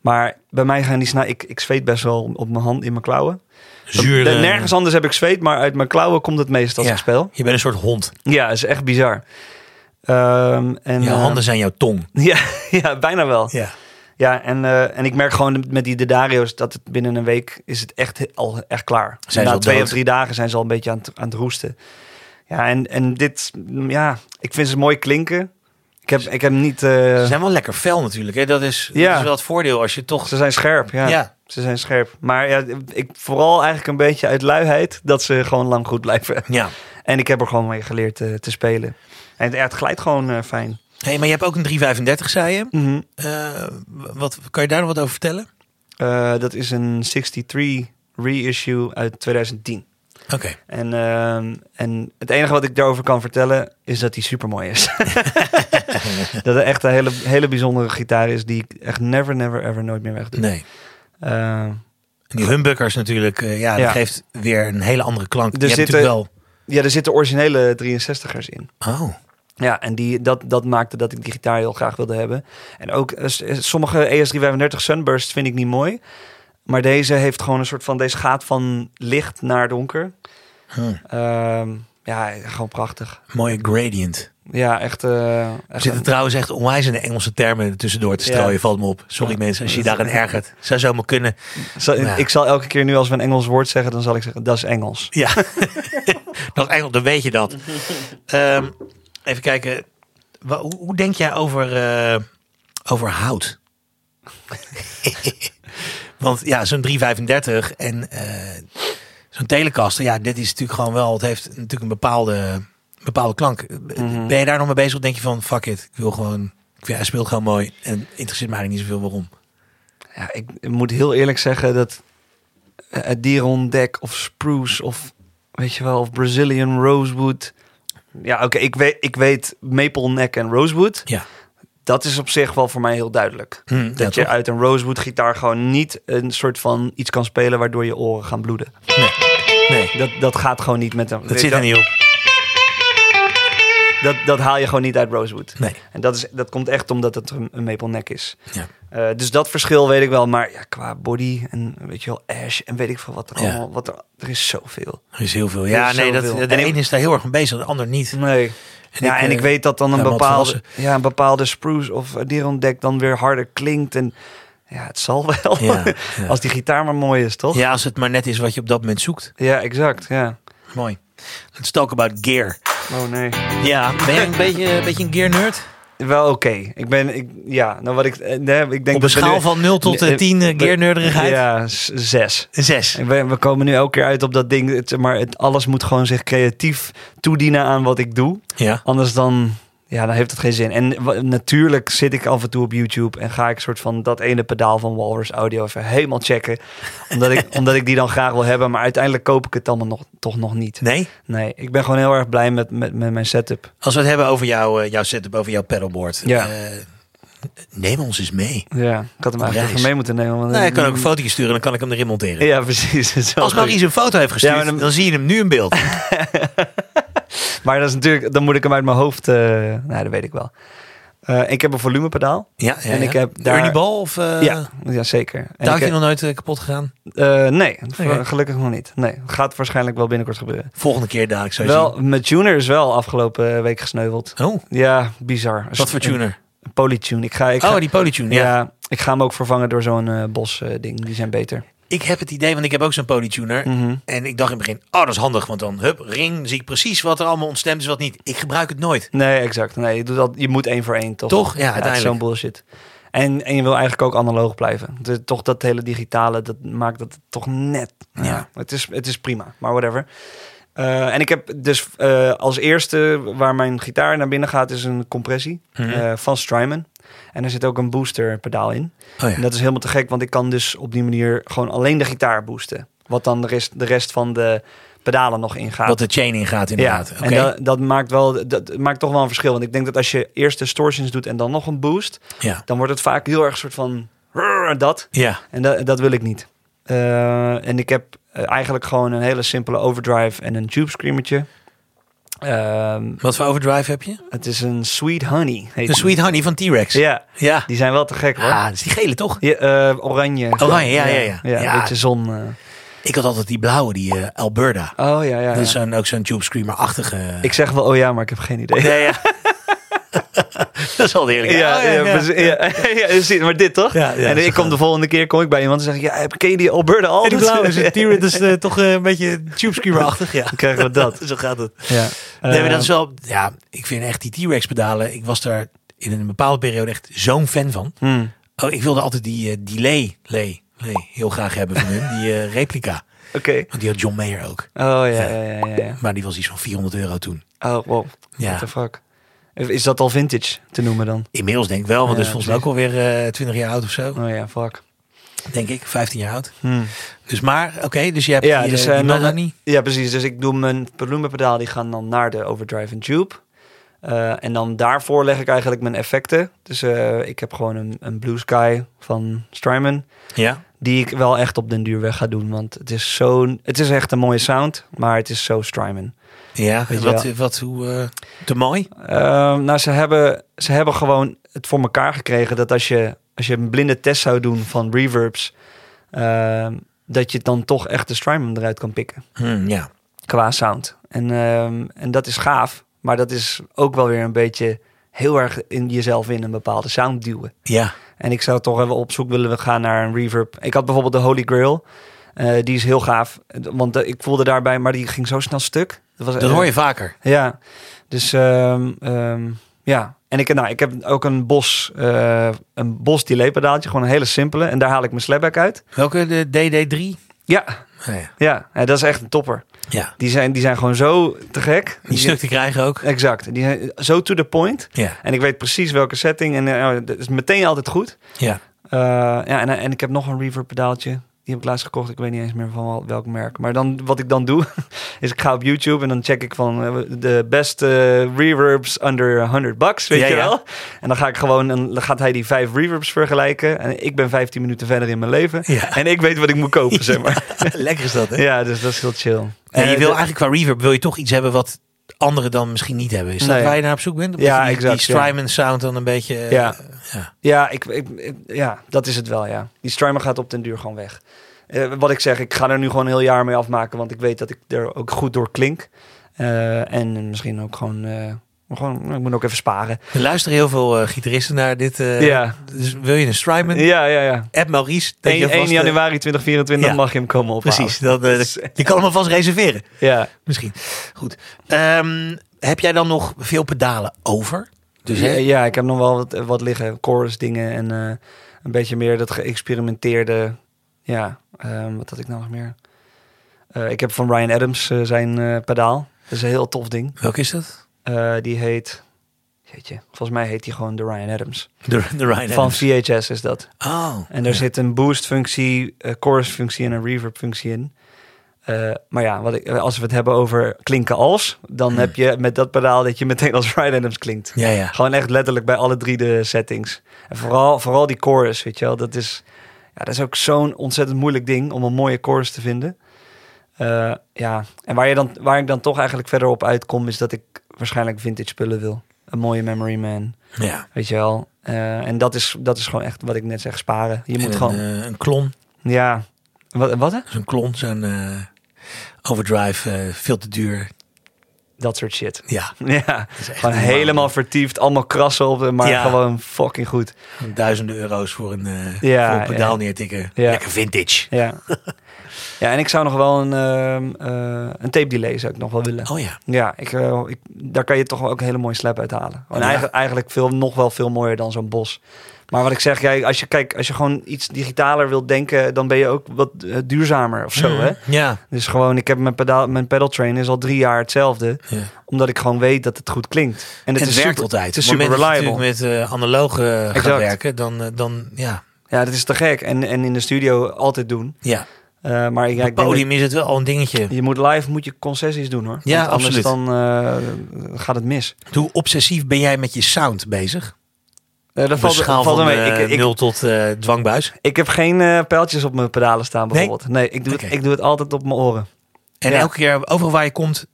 Speaker 3: maar bij mij gaan die snel... Ik, ik zweet best wel op mijn hand in mijn klauwen.
Speaker 1: Zuur.
Speaker 3: Dat-
Speaker 1: eh,
Speaker 3: Nergens anders heb ik zweet, maar uit mijn klauwen komt het meest als
Speaker 1: Ja.
Speaker 3: ik speel.
Speaker 1: Je bent een soort hond.
Speaker 3: Ja, is echt bizar. Ehm, en,
Speaker 1: Je
Speaker 3: eh,
Speaker 1: handen zijn jouw tong.
Speaker 3: ja, ja, bijna wel. Ja,
Speaker 1: Ja.
Speaker 3: en, eh, en ik merk gewoon met die de Dario's dat het binnen een week is het echt he- al echt klaar.
Speaker 1: ze
Speaker 3: Na
Speaker 1: al
Speaker 3: twee
Speaker 1: dood?
Speaker 3: of drie dagen zijn ze al een beetje aan het, aan het roesten. Ja, en, en dit, mm, ja, ik vind ze mooi klinken. Ik heb, ik heb niet, eh,
Speaker 1: Ze zijn wel lekker fel natuurlijk. Hè? Dat, is,
Speaker 3: Ja.
Speaker 1: dat is wel het voordeel als je toch...
Speaker 3: ze zijn scherp, ja.
Speaker 1: Ja.
Speaker 3: Ze zijn scherp. Maar ja, ik, vooral eigenlijk een beetje uit luiheid dat ze gewoon lang goed blijven.
Speaker 1: Ja.
Speaker 3: En ik heb er gewoon mee geleerd eh, te spelen. En het, ja, het glijdt gewoon eh, fijn.
Speaker 1: Hey, maar je hebt ook een 335, zei je.
Speaker 3: Mhm.
Speaker 1: Eh, wat, kan je daar nog wat over vertellen?
Speaker 3: Eh, dat is een 63 reissue uit 2010.
Speaker 1: Oké.
Speaker 3: En, ehm, en het enige wat ik daarover kan vertellen is dat hij super mooi is. dat het echt een hele, hele bijzondere gitaar is die ik echt never, never, ever nooit meer wegdoe.
Speaker 1: Nee.
Speaker 3: Eh,
Speaker 1: En Die humbuckers natuurlijk, eh, ja,
Speaker 3: Ja.
Speaker 1: dat geeft weer een hele andere klank.
Speaker 3: Er
Speaker 1: je hebt
Speaker 3: zitten-
Speaker 1: natuurlijk
Speaker 3: ja, er zitten originele 63ers in.
Speaker 1: wel... Oh,
Speaker 3: Ja, en die, dat, dat maakte dat ik die gitaar heel graag wilde hebben. En ook eh, s- eh, sommige ES335 Sunbursts vind ik niet mooi. Maar deze heeft gewoon een soort van, deze gaat van licht naar donker.
Speaker 1: Hm.
Speaker 3: Ehm, ja, gewoon prachtig.
Speaker 1: mooie gradient.
Speaker 3: Ja, echt. eh,
Speaker 1: Er
Speaker 3: echt
Speaker 1: zitten trouwens echt onwijs in de Engelse termen tussendoor te
Speaker 3: Ja.
Speaker 1: strooien, valt me op. Sorry
Speaker 3: Ja.
Speaker 1: mensen, als je je daaraan ergert. Zou zo maar kunnen.
Speaker 3: Zal-
Speaker 1: Nou Ja.
Speaker 3: Ik zal elke keer nu als we een Engels woord zeggen, dan zal ik zeggen dat is Engels.
Speaker 1: Ja, dat Engels, dan weet je dat. Ehm, even kijken, Wa- hoe, hoe denk jij over, eh, over hout? Want ja, zo'n 335 en eh, zo'n telecaster, ja, dit is natuurlijk gewoon wel, het heeft natuurlijk een bepaalde, bepaalde klank.
Speaker 3: Mhm.
Speaker 1: Ben je daar nog mee bezig of denk je van, fuck it, ik wil gewoon, ik vind, hij speelt gewoon mooi en interesseert mij eigenlijk niet zoveel waarom.
Speaker 3: Ja, ik moet heel eerlijk zeggen dat eh, Adirondack of Spruce of weet je wel, of Brazilian Rosewood. Ja, oké, ik, weet, ik weet Maple Neck en Rosewood.
Speaker 1: Ja.
Speaker 3: Dat is op zich wel voor mij heel duidelijk.
Speaker 1: Hm, ja,
Speaker 3: Dat je
Speaker 1: toch?
Speaker 3: uit een Rosewood gitaar gewoon niet een soort van iets kan spelen waardoor je oren gaan bloeden.
Speaker 1: Nee,
Speaker 3: Dat, dat gaat gewoon niet met een.
Speaker 1: dat zit er niet op.
Speaker 3: Dat, dat haal je gewoon niet uit Rosewood.
Speaker 1: Nee.
Speaker 3: En dat, is, dat komt echt omdat het een, een maple neck is.
Speaker 1: Ja.
Speaker 3: Eh, dus dat verschil weet ik wel. Maar ja, qua body en weet je wel, ash en weet ik veel wat er
Speaker 1: Ja.
Speaker 3: allemaal. Wat er, er is zoveel.
Speaker 1: Er is heel veel. Ja,
Speaker 3: is
Speaker 1: nee, dat,
Speaker 3: zoveel.
Speaker 1: de
Speaker 3: En ik-
Speaker 1: een is daar heel erg mee bezig, de ander niet.
Speaker 3: Nee. ja,
Speaker 1: ik,
Speaker 3: en
Speaker 1: eh,
Speaker 3: ik weet dat dan een,
Speaker 1: helemaal
Speaker 3: bepaalde,
Speaker 1: volwassen.
Speaker 3: ja, een bepaalde spruce of Adirondack dan weer harder klinkt. En ja, het zal wel.
Speaker 1: Ja, ja.
Speaker 3: Als die gitaar maar mooi is, toch?
Speaker 1: Ja, als het maar net is wat je op dat moment zoekt.
Speaker 3: Ja, exact. Ja.
Speaker 1: Mooi. Let's talk about gear.
Speaker 3: Oh nee.
Speaker 1: Ja, ben je een beetje een, beetje een gear nerd?
Speaker 3: Wel oké. Ik ben, ik, ja, nou wat ik, eh, nee, ik denk dat
Speaker 1: Op
Speaker 3: we
Speaker 1: een schaal
Speaker 3: nu-
Speaker 1: van 0 tot
Speaker 3: Eh,
Speaker 1: eh, 10 eh, gear nerderigheid.
Speaker 3: Ja, s- zes.
Speaker 1: Een 6.
Speaker 3: Ik ben- we komen nu elke keer uit op dat ding, het- maar het, alles moet gewoon zich creatief toedienen aan wat ik doe.
Speaker 1: Ja.
Speaker 3: Anders dan, ja, dan heeft het geen zin. En wa- natuurlijk zit ik af en toe op YouTube en ga ik soort van dat ene pedaal van Walrus Audio even helemaal checken. Omdat ik, omdat ik die dan graag wil hebben, maar uiteindelijk koop ik het allemaal nog, toch nog niet.
Speaker 1: Nee?
Speaker 3: Nee, ik ben gewoon heel erg blij met, met, met mijn setup.
Speaker 1: Als we het hebben over jouw, eh, jouw setup, over jouw paddleboard.
Speaker 3: Ja.
Speaker 1: eh, neem ons eens mee.
Speaker 3: Ja, ik had hem eigenlijk
Speaker 1: reis.
Speaker 3: even mee moeten nemen. want-
Speaker 1: Nou, ik kan ook een fotootje sturen en dan kan ik hem erin monteren.
Speaker 3: Ja, precies. Dat is wel
Speaker 1: Als
Speaker 3: goed.
Speaker 1: Maurice een foto heeft gestuurd,
Speaker 3: Ja, maar
Speaker 1: dan...
Speaker 3: dan-
Speaker 1: zie je hem nu in beeld.
Speaker 3: Maar dat is natuurlijk, dan moet ik hem uit mijn hoofd. eh nou, dat weet ik wel. Eh, ik heb een volumepedaal.
Speaker 1: Ja,
Speaker 3: En ik heb
Speaker 1: De
Speaker 3: daar-
Speaker 1: Ernie Ball of... eh
Speaker 3: ja, ja, zeker. En ik
Speaker 1: touwtje
Speaker 3: heb-
Speaker 1: nog nooit eh, kapot gegaan?
Speaker 3: eh, nee, voor-
Speaker 1: Oké.
Speaker 3: gelukkig nog niet. Nee, gaat waarschijnlijk wel binnenkort gebeuren.
Speaker 1: Volgende keer dadelijk, zou je
Speaker 3: Wel, mijn tuner is wel afgelopen eh, week gesneuveld.
Speaker 1: zien. Oh,
Speaker 3: Ja, bizar.
Speaker 1: wat voor tuner?
Speaker 3: Een polytune. Ik ga, ik ga,
Speaker 1: Oh, die polytune,
Speaker 3: ja.
Speaker 1: ja.
Speaker 3: ik ga hem ook vervangen door zo'n eh, bos eh, ding. Die zijn beter.
Speaker 1: Ik heb het idee, want ik heb ook zo'n polytuner.
Speaker 3: Mhm.
Speaker 1: En ik dacht in het begin, oh, dat is handig. Want dan, hup, ring, zie ik precies wat er allemaal ontstemd is, wat niet. Ik gebruik het nooit.
Speaker 3: Nee, exact. Nee, je, doet dat, je moet één voor één, toch?
Speaker 1: Toch? Ja,
Speaker 3: het is
Speaker 1: uiteindelijk.
Speaker 3: zo'n bullshit. En, en je wil eigenlijk ook analoog blijven. Dus toch dat hele digitale, dat maakt dat toch net. Ja. het, is, het is prima, maar whatever. Eh, en ik heb dus eh, als eerste waar mijn gitaar naar binnen gaat, is een compressie
Speaker 1: Mhm.
Speaker 3: eh, van Strymon. En er zit ook een booster pedaal in.
Speaker 1: Oh ja.
Speaker 3: En dat is helemaal te gek, want ik kan dus op die manier gewoon alleen de gitaar boosten. Wat dan de rest, de rest van de pedalen nog ingaat.
Speaker 1: Wat de chain in gaat, inderdaad. Oké.
Speaker 3: En dat, dat maakt wel, dat maakt toch wel een verschil. Want ik denk dat als je eerst distortions doet en dan nog een boost,
Speaker 1: Ja.
Speaker 3: dan wordt het vaak heel erg een soort van "Rrr", dat.
Speaker 1: Ja.
Speaker 3: En dat, dat wil ik niet. Eh, en ik heb eh, eigenlijk gewoon een hele simpele overdrive en een tube screamertje. Ehm,
Speaker 1: Wat voor overdrive heb je?
Speaker 3: het is een Sweet Honey. Heet
Speaker 1: Een
Speaker 3: die.
Speaker 1: Sweet Honey van T-Rex.
Speaker 3: Ja,
Speaker 1: Ja.
Speaker 3: die zijn wel te gek hoor.
Speaker 1: Ah, dat is die gele, toch?
Speaker 3: Ja, eh, oranje.
Speaker 1: Oranje, ja, ja, ja.
Speaker 3: ja,
Speaker 1: Ja.
Speaker 3: Een beetje zon. eh.
Speaker 1: Ik had altijd die blauwe, die eh, Alberta.
Speaker 3: Oh ja, ja. ja.
Speaker 1: Dat is zo'n- ook zo'n Tube Screamer-achtige...
Speaker 3: Ik zeg wel, oh ja, maar ik heb geen idee.
Speaker 1: Nee, ja. dat is Oh, al eerlijk.
Speaker 3: Ja, ja, precies. ja, ja, precies. maar dit toch?
Speaker 1: Ja, ja,
Speaker 3: en
Speaker 1: zo
Speaker 3: ik kom
Speaker 1: gaat
Speaker 3: de volgende keer kom ik bij iemand en zeg ik, ja, heb- ken je die Alberta
Speaker 1: En
Speaker 3: Albert?
Speaker 1: die blauwe is, T-Rex is eh, toch eh, een beetje Tube Screamer-achtig. Ja.
Speaker 3: Dan krijgen we dat. Eh.
Speaker 1: Zo gaat het.
Speaker 3: Ja.
Speaker 1: Nee, maar dat is wel... Ja, ik vind echt die T-Rex pedalen... Ik was daar in een bepaalde periode echt zo'n fan van.
Speaker 3: Hmm.
Speaker 1: Oh, ik wilde altijd die eh, delay, lay, lay heel graag hebben van hun. Die eh, replica.
Speaker 3: Oké.
Speaker 1: Want die had John Mayer ook.
Speaker 3: Oh ja, ja, ja, ja, ja.
Speaker 1: Maar die was iets van 400 euro toen.
Speaker 3: Oh, wow. What
Speaker 1: Ja,
Speaker 3: the fuck. Is dat al vintage te noemen dan?
Speaker 1: inmiddels denk ik wel. Want
Speaker 3: Ja,
Speaker 1: dat is volgens mij ook alweer eh 20 jaar oud of zo.
Speaker 3: Oh ja, fuck.
Speaker 1: Denk ik, 15 jaar oud.
Speaker 3: Hmm.
Speaker 1: Dus maar, oké, dus je hebt
Speaker 3: Ja,
Speaker 1: die,
Speaker 3: dus,
Speaker 1: eh,
Speaker 3: eh,
Speaker 1: die
Speaker 3: nog-
Speaker 1: Melanie.
Speaker 3: Ja, precies. Dus ik doe mijn volumepedaal, die gaan dan naar de overdrive en tube. Eh, en dan daarvoor leg ik eigenlijk mijn effecten. Dus eh, ik heb gewoon een, een Blue Sky van Strymon.
Speaker 1: Ja,
Speaker 3: Die ik wel echt op den duur weg ga doen. Want het is zo'n. Het is echt een mooie sound. Maar het is zo Strymon.
Speaker 1: ja.
Speaker 3: Weet je
Speaker 1: wat,
Speaker 3: wel.
Speaker 1: wat, hoe, eh, te mooi.
Speaker 3: Ehm, nou, ze hebben, ze hebben gewoon het voor elkaar gekregen. Dat als je, als je een blinde test zou doen van reverbs. ehm, dat je dan toch echt de Strymon eruit kan pikken.
Speaker 1: Hm, ja.
Speaker 3: Qua sound. En, ehm, en dat is gaaf. Maar dat is ook wel weer een beetje heel erg in jezelf in een bepaalde sound duwen.
Speaker 1: Ja,
Speaker 3: En ik zou toch even op zoek willen gaan naar een reverb. Ik had bijvoorbeeld de Holy Grail. Eh, die is heel gaaf. Want eh, ik voelde daarbij, maar die ging zo snel stuk. Dat, was,
Speaker 1: dat hoor je vaker.
Speaker 3: eh, Ja. Dus ehm, ehm, ja. En ik, nou, ik heb ook een bos, eh een bos delay pedaaltje. Gewoon een hele simpele. En daar haal ik mijn slapback uit.
Speaker 1: Welke, de DD3?
Speaker 3: Ja,
Speaker 1: Oh, ja.
Speaker 3: ja. Eh, dat is echt een topper.
Speaker 1: ja,
Speaker 3: Die zijn, die zijn gewoon zo te gek.
Speaker 1: die stuk te krijgen ook.
Speaker 3: Exact. Die zijn zo to the point.
Speaker 1: Ja,
Speaker 3: En ik weet precies welke setting. En eh, het is meteen altijd goed.
Speaker 1: ja.
Speaker 3: Eh, ja, en, en ik heb nog een reverb pedaaltje. Die heb ik laatst gekocht. Ik weet niet eens meer van wel- welk merk. Maar dan, wat ik dan doe, is ik ga op YouTube en dan check ik van eh, de beste reverbs under 100 bucks, weet
Speaker 5: Ja,
Speaker 3: je
Speaker 5: ja.
Speaker 3: wel. En dan ga ik gewoon, en dan gaat hij die vijf reverbs vergelijken. En ik ben 15 minuten verder in mijn leven.
Speaker 5: Ja.
Speaker 3: En ik weet wat ik moet kopen, zeg maar.
Speaker 5: Lekker is dat, hè?
Speaker 3: Ja, dus dat is heel chill.
Speaker 1: En je
Speaker 3: Eh,
Speaker 1: wil
Speaker 3: de-
Speaker 1: eigenlijk qua reverb wil je toch iets hebben wat anderen dan misschien niet hebben. Is dat
Speaker 3: Nee.
Speaker 1: waar je naar op zoek bent? Een
Speaker 3: Ja,
Speaker 1: beetje die,
Speaker 3: exact,
Speaker 1: Die
Speaker 3: ja.
Speaker 1: Strymon sound dan een beetje. eh,
Speaker 3: Ja.
Speaker 1: ja.
Speaker 3: Ja, ik, ik, ik- ja, dat is het wel, ja. Die streamer gaat op den duur gewoon weg. Eh, wat ik zeg, ik ga er nu gewoon een heel jaar mee afmaken, want ik weet dat ik er ook goed door klink. Eh, en misschien ook gewoon, eh, gewoon, ik moet ook even sparen.
Speaker 1: Er luisteren heel veel eh, gitaristen naar dit. eh,
Speaker 3: ja,
Speaker 1: Dus wil je een Strymon?
Speaker 3: ja, ja. ja.
Speaker 1: App Maurice. dat je
Speaker 3: 1,
Speaker 1: vast, eh,
Speaker 3: januari 2024
Speaker 1: Ja.
Speaker 3: mag je hem komen ophalen.
Speaker 1: Precies. Dat, eh, dat- je kan hem alvast reserveren.
Speaker 3: Ja.
Speaker 1: Misschien. Goed. Ehm, heb jij dan nog veel pedalen over? Dus
Speaker 3: ja,
Speaker 1: hè,
Speaker 3: Eh, ja, ik heb nog wel wat, wat liggen. Chorus dingen en eh, een beetje meer dat geëxperimenteerde. Ja, ehm, wat had ik nou nog meer? Eh, ik heb van Ryan Adams eh, zijn eh, pedaal. Dat is een heel tof ding.
Speaker 1: welk is dat?
Speaker 3: Eh, die heet. Jeetje, volgens mij heet die gewoon de Ryan Adams.
Speaker 5: De, de Ryan
Speaker 3: Van
Speaker 5: Adams.
Speaker 3: VHS is dat.
Speaker 1: Oh.
Speaker 3: En daar zit een boost-functie, een chorus-functie en een reverb-functie in. Eh, maar ja, wat ik, als we het hebben over klinken als, dan
Speaker 5: Hmm.
Speaker 3: heb je met dat pedaal dat je meteen als Ryan Adams klinkt.
Speaker 1: Ja, ja.
Speaker 3: Gewoon echt letterlijk bij alle drie de settings. En vooral, vooral die chorus, weet je wel. Dat is, ja, dat is ook zo'n ontzettend moeilijk ding om een mooie chorus te vinden. Eh, ja, en waar, je dan, waar ik dan toch eigenlijk verder op uitkom... is dat ik waarschijnlijk vintage spullen wil. Een mooie Memory Man,
Speaker 1: ja.
Speaker 3: weet je wel. Eh, en dat is, dat is gewoon echt wat ik net zeg, sparen. Je moet
Speaker 1: En
Speaker 3: gewoon...
Speaker 1: Een, eh, een klon.
Speaker 3: ja, wat, wat hè?
Speaker 1: Zo'n klon, zo'n eh, overdrive, eh, veel te duur.
Speaker 3: Dat soort shit.
Speaker 1: Ja,
Speaker 3: Ja,
Speaker 1: is echt
Speaker 3: gewoon
Speaker 1: niet normaal.
Speaker 3: helemaal vertiefd, allemaal krassen op, de- maar
Speaker 1: Ja.
Speaker 3: gewoon fucking goed.
Speaker 1: duizenden euro's voor een, eh,
Speaker 3: Ja,
Speaker 1: voor een pedaal
Speaker 3: ja.
Speaker 1: neertikken.
Speaker 3: Ja.
Speaker 1: Lekker vintage.
Speaker 3: Ja. ja, en ik zou nog wel een, ehm, eh, een tape delay zou ik nog wel willen.
Speaker 1: Oh ja.
Speaker 3: Ja, ik, eh, ik, daar kan je toch wel ook een hele mooie slap uit halen. En
Speaker 1: Oh, Ja.
Speaker 3: eigenlijk, eigenlijk veel, nog wel veel mooier dan zo'n bos. Maar wat ik zeg, jij, als, je, kijk, als je gewoon iets digitaler wilt denken, dan ben je ook wat eh, duurzamer of zo. Hè?
Speaker 1: Mm. Ja.
Speaker 3: Dus gewoon, ik heb mijn, pedaal, mijn pedal train is al drie jaar hetzelfde.
Speaker 1: ja.
Speaker 3: Omdat ik gewoon weet dat het goed klinkt. En het,
Speaker 1: En
Speaker 3: is
Speaker 1: werkt
Speaker 3: super-
Speaker 1: altijd.
Speaker 3: Het is
Speaker 1: Op het
Speaker 3: super
Speaker 1: moment dat je
Speaker 3: reliable.
Speaker 1: natuurlijk met eh analoog eh, gaat
Speaker 3: Exact.
Speaker 1: werken, dan, eh, dan ja.
Speaker 3: Ja, dat is te gek. En, en in de studio altijd doen.
Speaker 1: ja.
Speaker 3: Eh, maar ja, ik denk dat-
Speaker 1: Podium is het wel al een dingetje.
Speaker 3: Je moet live moet je concessies doen hoor.
Speaker 1: Ja,
Speaker 3: Want anders
Speaker 1: absoluut.
Speaker 3: dan eh, gaat het mis.
Speaker 1: Hoe obsessief ben jij met je sound bezig?
Speaker 3: Eh, dat
Speaker 1: Op een
Speaker 3: valt,
Speaker 1: schaal
Speaker 3: valt
Speaker 1: van
Speaker 3: mee.
Speaker 1: eh,
Speaker 3: ik, ik,
Speaker 1: 0 tot eh, dwangbuis.
Speaker 3: ik heb geen eh, pijltjes op mijn pedalen staan bijvoorbeeld. Nee, ik, doe
Speaker 1: Oké.
Speaker 3: het, ik doe het altijd op mijn oren.
Speaker 1: En
Speaker 3: Ja.
Speaker 1: elke keer, overal waar je komt,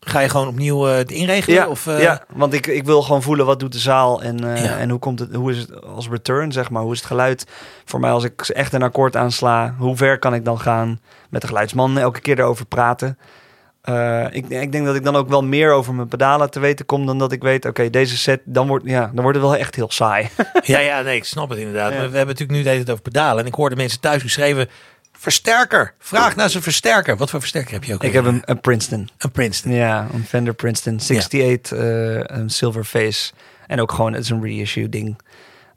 Speaker 1: ga je gewoon opnieuw eh, het inregelen?
Speaker 3: Ja,
Speaker 1: of, eh,
Speaker 3: ja, want ik, ik wil gewoon voelen wat doet de zaal en, eh,
Speaker 1: Ja.
Speaker 3: en hoe, komt het, hoe is het als return, zeg maar. Hoe is het geluid voor mij als ik echt een akkoord aansla? Hoe ver kan ik dan gaan met de geluidsman elke keer erover praten? Eh, ik, ik denk dat ik dan ook wel meer over mijn pedalen te weten kom dan dat ik weet, oké, deze set, dan wordt, ja, dan wordt het wel echt heel saai.
Speaker 1: ja, ja, nee, ik snap het inderdaad.
Speaker 3: Ja.
Speaker 1: Maar We hebben natuurlijk nu de hele tijd over pedalen. En ik hoorde mensen thuis geschreven, versterker. Vraag naar zijn versterker. Wat voor versterker heb je ook?
Speaker 3: Ik
Speaker 1: weer?
Speaker 3: heb een, een Princeton.
Speaker 1: Een Princeton.
Speaker 3: Ja, een Fender Princeton 68, eh, een Silverface. En ook gewoon, het is een reissue ding.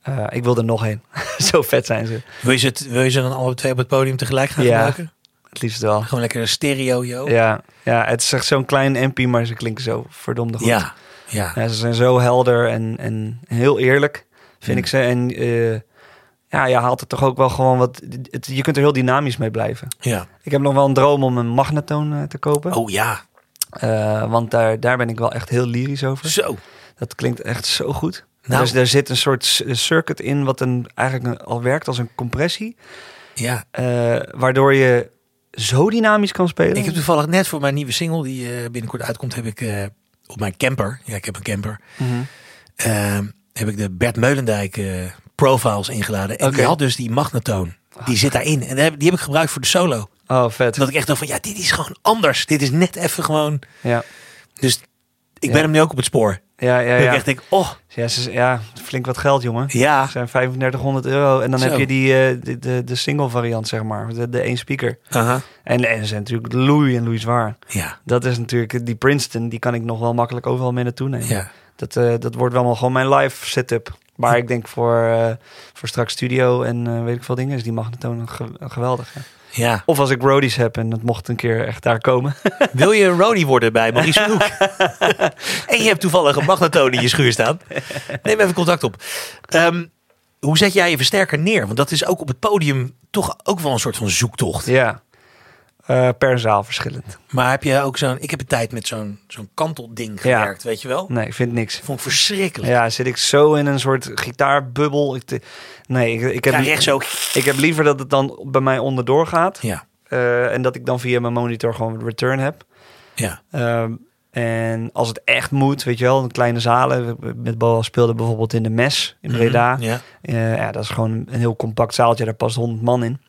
Speaker 3: Eh, ik wil er nog een. Zo vet zijn ze.
Speaker 1: Wil je, ze het, wil je ze dan alle twee op het podium tegelijk gaan
Speaker 3: Ja.
Speaker 1: gebruiken?
Speaker 3: Het liefst wel.
Speaker 1: Gewoon lekker een stereo, joh.
Speaker 3: Ja, ja, het is echt zo'n klein MP, maar ze klinken zo verdomde goed.
Speaker 1: ja. ja.
Speaker 3: Ja, ze zijn zo helder en, en heel eerlijk, vind ik ze. En eh, ja, je haalt er toch ook wel gewoon wat... het- je kunt er heel dynamisch mee blijven.
Speaker 1: ja.
Speaker 3: Ik heb nog wel een droom om een magnetoon eh, te kopen.
Speaker 1: Oh ja,
Speaker 3: Eh, want daar, daar ben ik wel echt heel lyrisch over.
Speaker 1: zo.
Speaker 3: Dat klinkt echt zo goed.
Speaker 1: Nou.
Speaker 3: Dus daar zit een soort s- circuit in, wat een, eigenlijk een- al werkt als een compressie.
Speaker 1: Ja.
Speaker 3: eh, waardoor je zo dynamisch kan spelen.
Speaker 1: Ik heb toevallig net voor mijn nieuwe single, die eh, binnenkort uitkomt, heb ik eh, op mijn camper, ja, ik heb een camper,
Speaker 3: Mhm.
Speaker 1: Ehm, heb ik de Bert Meulendijk eh, profiles ingeladen. En die
Speaker 3: Oké.
Speaker 1: had dus die magnetoon. Die zit daarin. En die heb, die heb ik gebruikt voor de solo.
Speaker 3: Oh, vet.
Speaker 1: Dat ik echt dacht van, ja, dit is gewoon anders. Dit is net even gewoon...
Speaker 3: Ja.
Speaker 1: Dus ik
Speaker 3: Ja.
Speaker 1: ben hem nu ook op het spoor.
Speaker 3: Ja, ja,
Speaker 1: Dat ik
Speaker 3: ja.
Speaker 1: echt denk, oh,
Speaker 3: Ja, ze- ja, flink wat geld, jongen.
Speaker 1: ja.
Speaker 3: Het zijn 3500 euro. En dan
Speaker 1: Zo.
Speaker 3: heb je die, eh, de, de, de single variant, zeg maar. De, de één speaker.
Speaker 1: Aha.
Speaker 3: En, en ze zijn natuurlijk loei en loei zwaar.
Speaker 1: Ja,
Speaker 3: Dat is natuurlijk... Die Princeton, die kan ik nog wel makkelijk overal mee naartoe nemen.
Speaker 1: ja.
Speaker 3: Dat, eh, dat wordt wel gewoon mijn live setup. Maar ik denk voor, eh, voor straks studio en eh, weet ik veel dingen... is die magnetoon ge- geweldig. ja.
Speaker 1: Ja.
Speaker 3: Of als ik roadies heb en dat mocht een keer echt daar komen.
Speaker 1: Wil je een roadie worden bij Maurice van Hoek? en je hebt toevallig een magnetoon in je schuur staan. Neem even contact op. Ehm, Hoe zet jij je versterker neer? Want dat is ook op het podium toch ook wel een soort van zoektocht.
Speaker 3: Ja. Eh, per zaal verschillend.
Speaker 1: Maar heb je ook zo'n... Ik heb een tijd met zo'n zo'n kantelding
Speaker 3: Ja.
Speaker 1: gewerkt, weet je wel?
Speaker 3: Nee, ik vind niks.
Speaker 1: Vond ik verschrikkelijk.
Speaker 3: Ja, zit ik zo in een soort gitaarbubbel. Ik te- nee, ik, ik, heb,
Speaker 6: Ja, rechts ook.
Speaker 3: ik heb liever dat het dan bij mij onderdoor gaat.
Speaker 1: Ja.
Speaker 3: Eh, en dat ik dan via mijn monitor gewoon return heb.
Speaker 1: ja.
Speaker 3: Ehm, en als het echt moet, weet je wel, in kleine zalen. We- Met Boas speelde bijvoorbeeld in de Mes in Breda.
Speaker 1: Mhm, Ja.
Speaker 3: Eh, ja, dat is gewoon een heel compact zaaltje. Daar past 100 man in.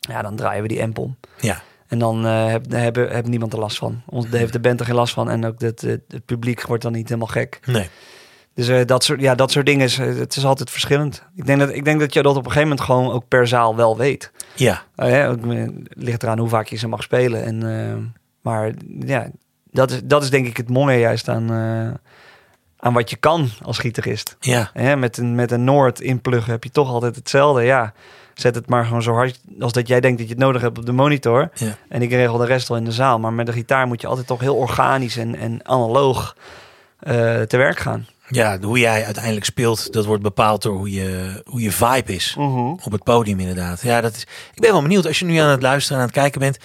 Speaker 3: Ja, dan draaien we die empom.
Speaker 1: ja.
Speaker 3: En dan eh heb, heb, heb niemand er last van. Ons, daar heeft de band er geen last van. En ook het, het, het publiek wordt dan niet helemaal gek.
Speaker 1: Nee.
Speaker 3: Dus eh, dat, soort, ja, dat soort dingen, is, eh, het is altijd verschillend. Ik denk, dat, ik denk dat je dat op een gegeven moment gewoon ook per zaal wel weet.
Speaker 1: Ja.
Speaker 3: Nou ja, het eh, ligt eraan hoe vaak je ze mag spelen. En, eh, maar ja, dat is, dat is denk ik het mooie juist aan, eh, aan wat je kan als gitarist.
Speaker 1: Ja.
Speaker 3: Hè, met, een, met een Noord inpluggen heb je toch altijd hetzelfde. Ja, zet het maar gewoon zo hard als dat jij denkt dat je het nodig hebt op de monitor.
Speaker 1: Ja.
Speaker 3: En ik regel de rest wel in de zaal. Maar met de gitaar moet je altijd toch heel organisch en, en analoog eh, te werk gaan.
Speaker 1: Ja, hoe jij uiteindelijk speelt, dat wordt bepaald door hoe je, hoe je vibe is. Op het podium inderdaad. Ja, dat is, ik ben wel benieuwd, als je nu aan het luisteren en aan het kijken bent.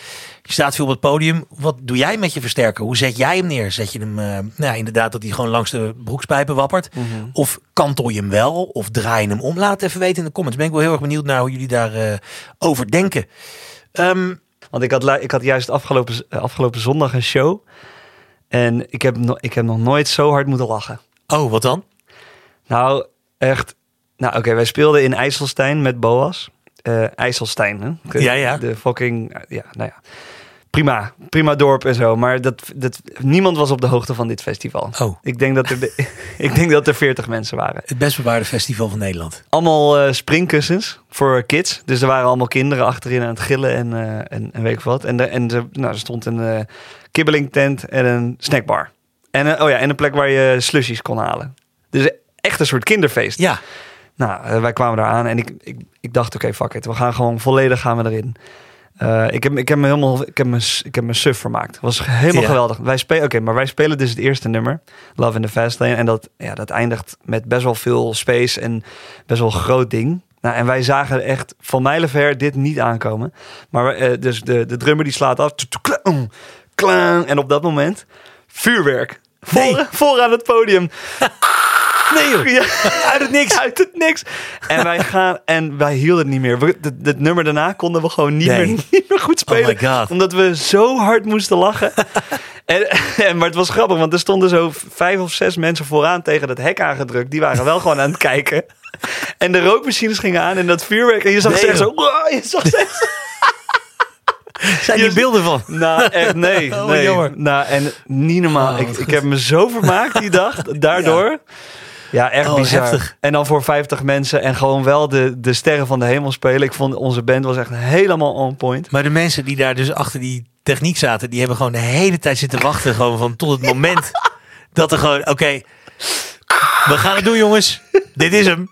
Speaker 1: Je staat veel op het podium. Wat doe jij met je versterker? Hoe zet jij hem neer? Zet je hem eh, nou, ja, inderdaad dat hij gewoon langs de broekspijpen wappert? Of kantel je hem wel? Of draai je hem om? Laat het even weten in de comments. Ben ik wel heel erg benieuwd naar hoe jullie daarover over denken. Ehm,
Speaker 3: Want ik had, lu- ik had juist afgelopen, z- eh, afgelopen zondag een show. En ik heb, no- ik heb nog nooit zo hard moeten lachen.
Speaker 1: oh, wat dan?
Speaker 3: Nou, echt. Nou, oké, wij speelden in IJsselstein met Boas. Eh IJsselstein, hè? De-
Speaker 1: Ja, ja.
Speaker 3: De fucking, ja, nou ja. Prima, prima dorp en zo. Maar dat, dat, niemand was op de hoogte van dit festival.
Speaker 1: Oh.
Speaker 3: Ik denk dat er, de- ik denk dat er 40 mensen waren.
Speaker 1: Het best bewaarde festival van Nederland.
Speaker 3: Allemaal eh, springkussens voor kids. Dus er waren allemaal kinderen achterin aan het gillen en, eh en, en weet ik wat. En, de, en de, nou, er stond een eh kibbeling tent en een snackbar. En, een- oh ja, en een plek waar je slushies kon halen. Dus echt een soort kinderfeest.
Speaker 1: Ja,
Speaker 3: Nou, eh, wij kwamen daar aan en ik, ik, ik dacht, oké, fuck it. We gaan gewoon volledig gaan we erin. Eh, ik, heb, ik heb me helemaal, ik heb me, s- ik heb me suf vermaakt. Het was helemaal
Speaker 1: Ja.
Speaker 3: geweldig. Wij spelen, oké, maar wij spelen dus het eerste nummer, Love in the Fast Lane. En dat, ja, dat eindigt met best wel veel space en best wel een groot ding. Nou, en wij zagen echt van mijlenver dit niet aankomen. Maar we- eh, dus de, de drummer die slaat af. Klang, klang. En op dat moment vuurwerk. Voor,
Speaker 1: Nee.
Speaker 3: voor aan het podium.
Speaker 1: nee joh.
Speaker 3: Ja, uit het niks. Uit het niks. En wij gaan en wij hielden het niet meer. We- dat- Dat nummer daarna konden we gewoon niet,
Speaker 1: Nee.
Speaker 3: meer, niet meer goed
Speaker 1: Oh my
Speaker 3: spelen.
Speaker 1: God.
Speaker 3: Omdat we zo hard moesten lachen. En, en, maar het was grappig, want er stonden zo vijf of zes mensen vooraan tegen dat hek aangedrukt. Die waren wel gewoon aan het kijken. En de rookmachines gingen aan en dat vuurwerk. En je zag
Speaker 1: Nee,
Speaker 3: ze echt zo.
Speaker 1: joh.
Speaker 3: "Wow", Je zag ze echt
Speaker 1: Zijn die
Speaker 3: Je-
Speaker 1: beelden van?
Speaker 3: nou, echt, nee.
Speaker 1: Oh,
Speaker 3: nee.
Speaker 1: jammer.
Speaker 3: nou, en niet normaal.
Speaker 1: Oh,
Speaker 3: ik,
Speaker 1: wat
Speaker 3: ik heb me zo vermaakt die dag, daardoor. Ja, echt
Speaker 1: Oh,
Speaker 3: bizar.
Speaker 1: heftig.
Speaker 3: En dan voor 50 mensen en gewoon wel de, de sterren van de hemel spelen. Ik vond onze band was echt helemaal on point.
Speaker 1: Maar de mensen die daar dus achter die techniek zaten, die hebben gewoon de hele tijd zitten wachten. Gewoon van tot het moment dat er gewoon, oké, we gaan het doen jongens. Dit is hem.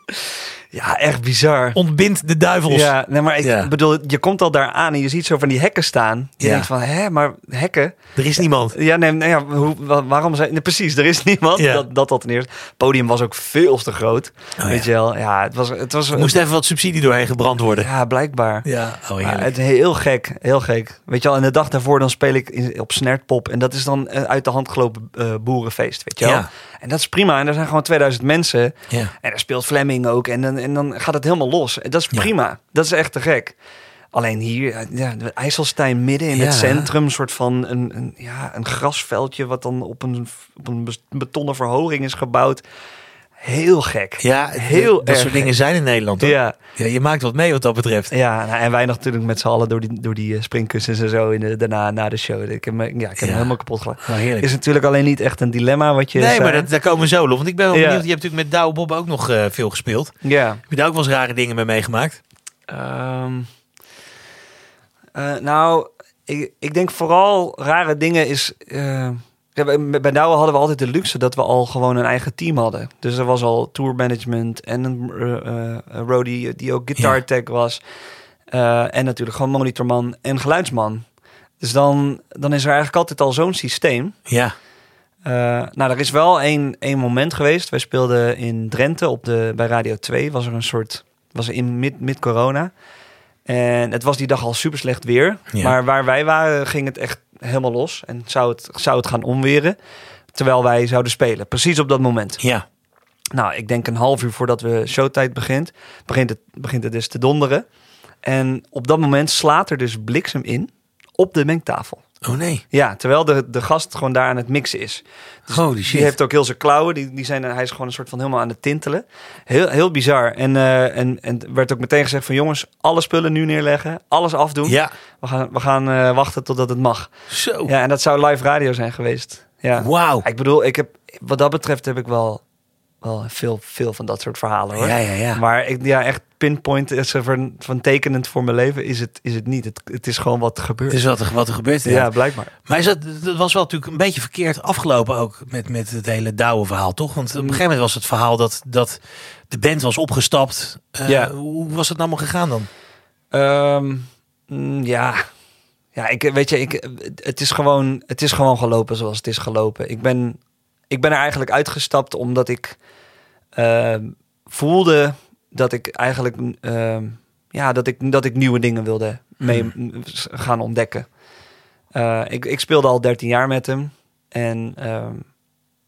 Speaker 3: Ja, echt bizar.
Speaker 1: Ontbind de duivels.
Speaker 3: Ja, nee, maar ik
Speaker 1: Ja.
Speaker 3: bedoel, je komt al daar aan en je ziet zo van die hekken staan. Je
Speaker 1: Ja.
Speaker 3: denkt van, hè, maar hekken?
Speaker 1: Er is niemand.
Speaker 3: Ja, nee, nee ja, hoe, wa- waarom zijn... nee, precies, er is niemand.
Speaker 1: Ja.
Speaker 3: Dat, dat al ten eerste. Het podium was ook veel te groot.
Speaker 1: ja.
Speaker 3: weet je wel? Oh, Ja, het was... Het was
Speaker 1: Er moest even wat subsidie doorheen gebrand worden.
Speaker 3: ja, blijkbaar.
Speaker 1: Ja, oh
Speaker 3: Ja,
Speaker 1: heerlijk.
Speaker 3: het heel gek, heel gek. Weet je wel, en de dag daarvoor dan speel ik in, op Snertpop. En dat is dan een uit de hand gelopen eh, boerenfeest, weet je wel.
Speaker 1: Ja.
Speaker 3: En dat is prima. En er zijn gewoon 2000 mensen.
Speaker 1: Ja.
Speaker 3: En er speelt Fleming ook. En dan, en dan gaat het helemaal los. En dat is
Speaker 1: Ja.
Speaker 3: prima. Dat is echt te gek. Alleen hier, ja, IJsselstein midden in het
Speaker 1: Ja.
Speaker 3: centrum. Een soort van een, een, ja, een grasveldje wat dan op een, op een bes- betonnen verhoging is gebouwd. Heel gek.
Speaker 1: Ja,
Speaker 3: Heel
Speaker 1: heel dat
Speaker 3: erg
Speaker 1: soort dingen zijn in Nederland. hoor.
Speaker 3: Ja.
Speaker 1: Ja, je maakt wat mee wat dat betreft.
Speaker 3: Ja, nou, en wij natuurlijk met z'n allen door die, door die eh, springkussens en zo in de, daarna na de show. Ik heb me, ja, ik heb me
Speaker 1: Ja.
Speaker 3: helemaal kapot gelachen.
Speaker 1: Oh, heerlijk.
Speaker 3: Is natuurlijk alleen niet echt een dilemma wat je
Speaker 1: Nee,
Speaker 3: zei.
Speaker 1: maar dat, daar komen we zo op. Want ik ben wel
Speaker 3: Ja.
Speaker 1: benieuwd. Je hebt natuurlijk met Douwe Bob ook nog eh, veel gespeeld.
Speaker 3: Ja.
Speaker 1: Heb je daar ook wel eens rare dingen mee meegemaakt?
Speaker 3: Ehm, eh, nou, ik, ik denk vooral rare dingen is... eh, ja, bij- bij Douwe hadden we altijd de luxe dat we al gewoon een eigen team hadden. Dus er was al tourmanagement en een eh, eh, roadie die ook guitar
Speaker 1: Ja.
Speaker 3: tech was. Eh, en natuurlijk gewoon monitorman en geluidsman. Dus dan, dan is er eigenlijk altijd al zo'n systeem.
Speaker 1: Ja.
Speaker 3: Eh, nou, er is wel één, één moment geweest. Wij speelden in Drenthe op de, bij Radio 2. Was er een soort was in mid, mid corona. En het was die dag al super slecht weer.
Speaker 1: Ja.
Speaker 3: Maar waar wij waren ging het echt helemaal los. En zou het, zou het gaan omweren. Terwijl wij zouden spelen. Precies op dat moment.
Speaker 1: Ja.
Speaker 3: Nou, ik denk een half uur voordat we showtijd begint, begint het, begint het dus te donderen. En op dat moment slaat er dus bliksem in op de mengtafel.
Speaker 1: Oh nee.
Speaker 3: Ja, terwijl de, de gast gewoon daar aan het mixen is.
Speaker 1: Holy shit.
Speaker 3: Die heeft ook heel zijn klauwen. Die, die zijn, hij is gewoon een soort van helemaal aan het tintelen. Heel, heel bizar. En, eh, en, en werd ook meteen gezegd van jongens, alle spullen nu neerleggen. Alles afdoen.
Speaker 1: Ja.
Speaker 3: We gaan, we gaan eh, wachten totdat het mag.
Speaker 1: Zo.
Speaker 3: Ja, en dat zou live radio zijn geweest. Ja.
Speaker 1: Wauw.
Speaker 3: Ik bedoel, ik heb, wat dat betreft heb ik wel, wel veel, veel van dat soort verhalen hoor.
Speaker 1: Ja, ja, ja.
Speaker 3: Maar ik, ja, echt pinpoint eh, is er van, van tekenend voor mijn leven is het, is het niet. Het, het is gewoon wat gebeurt.
Speaker 1: Het is wat er, wat er gebeurt.
Speaker 3: ja.
Speaker 1: inderdaad.
Speaker 3: blijkbaar.
Speaker 1: Maar is dat, dat was wel natuurlijk een beetje verkeerd afgelopen ook met, met het hele Douwe verhaal, toch? Want op een gegeven moment was het verhaal dat, dat de band was opgestapt. Eh,
Speaker 3: Ja.
Speaker 1: Hoe was het nou allemaal gegaan dan?
Speaker 3: Ehm, mm, ja. Ja, ik, eh, weet je, ik, het, is gewoon, het is gewoon gelopen zoals het is gelopen. Ik ben, ik ben er eigenlijk uitgestapt omdat ik ehm, voelde dat ik eigenlijk ehm, ja, dat ik, dat ik nieuwe dingen wilde mee gaan ontdekken. Eh, ik, ik speelde al 13 jaar met hem. En ehm,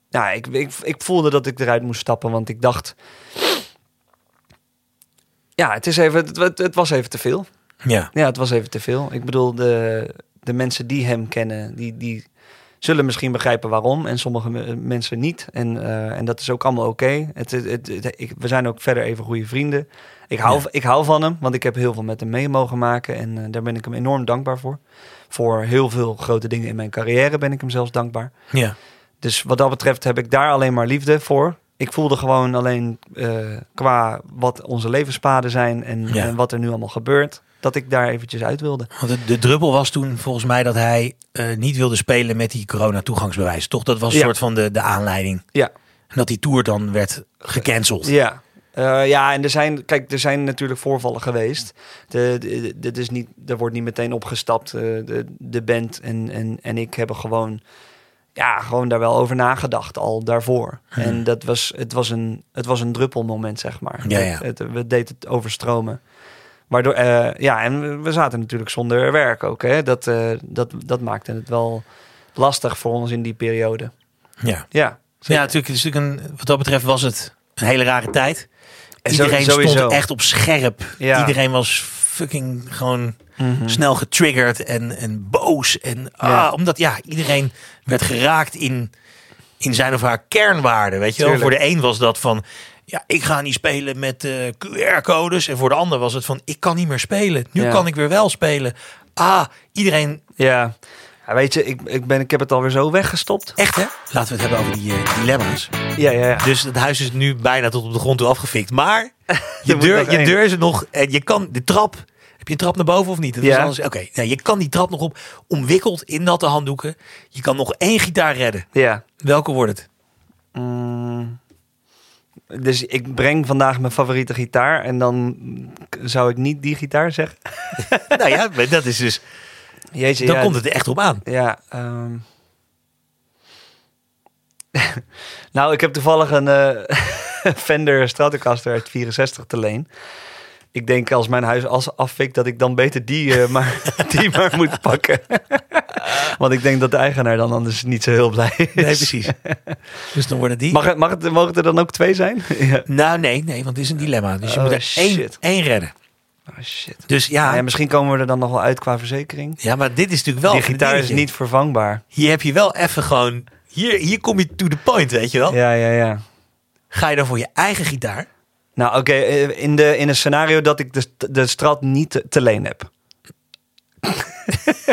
Speaker 3: ja, ik, ik, ik voelde dat ik eruit moest stappen, want ik dacht. Ja, het, is even, het, het- het was even te veel.
Speaker 1: Ja.
Speaker 3: Ja, het was even te veel. Ik bedoel, de, de mensen die hem kennen, die, die zullen misschien begrijpen waarom. En sommige me- mensen niet. En, eh, en dat is ook allemaal oké. Het, het, het- het- ik- we zijn ook verder even goede vrienden. Ik hou, ik hou van hem, want ik heb heel veel met hem mee mogen maken. En eh, daar ben ik hem enorm dankbaar voor. Voor heel veel grote dingen in mijn carrière ben ik hem zelfs dankbaar.
Speaker 1: Ja.
Speaker 3: Dus wat dat betreft heb ik daar alleen maar liefde voor. Ik voelde gewoon alleen eh, qua wat onze levenspaden zijn en,
Speaker 1: Ja.
Speaker 3: en wat er nu allemaal gebeurt, dat ik daar eventjes uit wilde.
Speaker 1: Want de, de druppel was toen volgens mij dat hij eh, niet wilde spelen met die corona-toegangsbewijs. Toch? Dat was een
Speaker 3: Ja.
Speaker 1: soort van de, de aanleiding.
Speaker 3: Ja,
Speaker 1: En dat die tour dan werd gecanceld.
Speaker 3: ja. Eh, ja, en er zijn, kijk, er zijn natuurlijk voorvallen geweest. De, de- de- dit is niet, er wordt niet meteen opgestapt. Eh, de, de band en, en, en ik hebben gewoon, ja, gewoon daar wel over nagedacht al daarvoor.
Speaker 1: Mhm.
Speaker 3: En dat was, het, was een, het was een druppelmoment, zeg maar.
Speaker 1: Ja, ja.
Speaker 3: Het, het- we deden het overstromen. Waardoor, eh, ja, en we- we zaten natuurlijk zonder werk ook. Hè? Dat, eh, dat, dat maakte het wel lastig voor ons in die periode.
Speaker 1: Ja.
Speaker 3: Ja.
Speaker 1: Ja, natuurlijk, het is natuurlijk een, wat dat betreft was het een hele rare tijd.
Speaker 3: En zo-
Speaker 1: Iedereen
Speaker 3: sowieso.
Speaker 1: stond echt op scherp.
Speaker 3: Ja. Hmm.
Speaker 1: Iedereen was fucking gewoon
Speaker 3: Mhm.
Speaker 1: snel getriggerd en, en boos. En, ah,
Speaker 3: Ja.
Speaker 1: Omdat ja, iedereen werd geraakt in, in zijn of haar kernwaarden. Weet je wel?
Speaker 3: Tuurlijk.
Speaker 1: Voor de een was dat van, ja, ik ga niet spelen met eh, QR-codes. En voor de ander was het van, ik kan niet meer spelen. Nu
Speaker 3: Ja.
Speaker 1: kan ik weer wel spelen. Ah, iedereen,
Speaker 3: Ja. Ja, weet je, ik, ik, ben, ik heb het alweer zo weggestopt.
Speaker 1: echt hè? Laten we het hebben over die eh, dilemma's.
Speaker 3: Ja, ja, ja.
Speaker 1: Dus het huis is nu bijna tot op de grond toe afgefikt. Maar je,
Speaker 3: moet nog
Speaker 1: deur, je
Speaker 3: één.
Speaker 1: deur is er nog. En je kan de trap. Heb je een trap naar boven of niet? Dat is
Speaker 3: Ja.
Speaker 1: alles- Oké, nou, je kan die trap nog op. Omwikkeld in natte handdoeken. Je kan nog één gitaar redden.
Speaker 3: Ja.
Speaker 1: Welke wordt het?
Speaker 3: Mm. Dus ik breng vandaag mijn favoriete gitaar en dan k- zou ik niet die gitaar zeggen.
Speaker 1: nou ja, maar dat is dus.
Speaker 3: Jeetje,
Speaker 1: Dan
Speaker 3: ja,
Speaker 1: komt het er echt op aan.
Speaker 3: Ja. ehm. nou, ik heb toevallig een eh, Fender Stratocaster uit 64 te leen. Ik denk als mijn huis as afvikt dat ik dan beter die, eh, maar, die maar moet pakken. Want ik denk dat de eigenaar dan anders niet zo heel blij is.
Speaker 1: Nee, precies. dus dan worden die.
Speaker 3: Mag het, mag het, mogen er dan ook twee zijn? ja.
Speaker 1: Nou, nee, nee, want het is een dilemma. Dus je
Speaker 3: Oh,
Speaker 1: moet er één,
Speaker 3: shit.
Speaker 1: één redden.
Speaker 3: Oh shit.
Speaker 1: Dus ja,
Speaker 3: Nou ja,
Speaker 1: ja,
Speaker 3: misschien komen we er dan nog wel uit qua verzekering.
Speaker 1: maar dit is natuurlijk wel.
Speaker 3: Die
Speaker 1: een
Speaker 3: gitaar is
Speaker 1: dingetje.
Speaker 3: niet vervangbaar.
Speaker 1: Hier heb je wel even gewoon. Hier, hier kom je to the point, weet je wel.
Speaker 3: Ja, ja, ja.
Speaker 1: Ga je dan voor je eigen gitaar?
Speaker 3: Nou, oké, eh, in, de, in een scenario dat ik de, de strat niet te, te leen heb.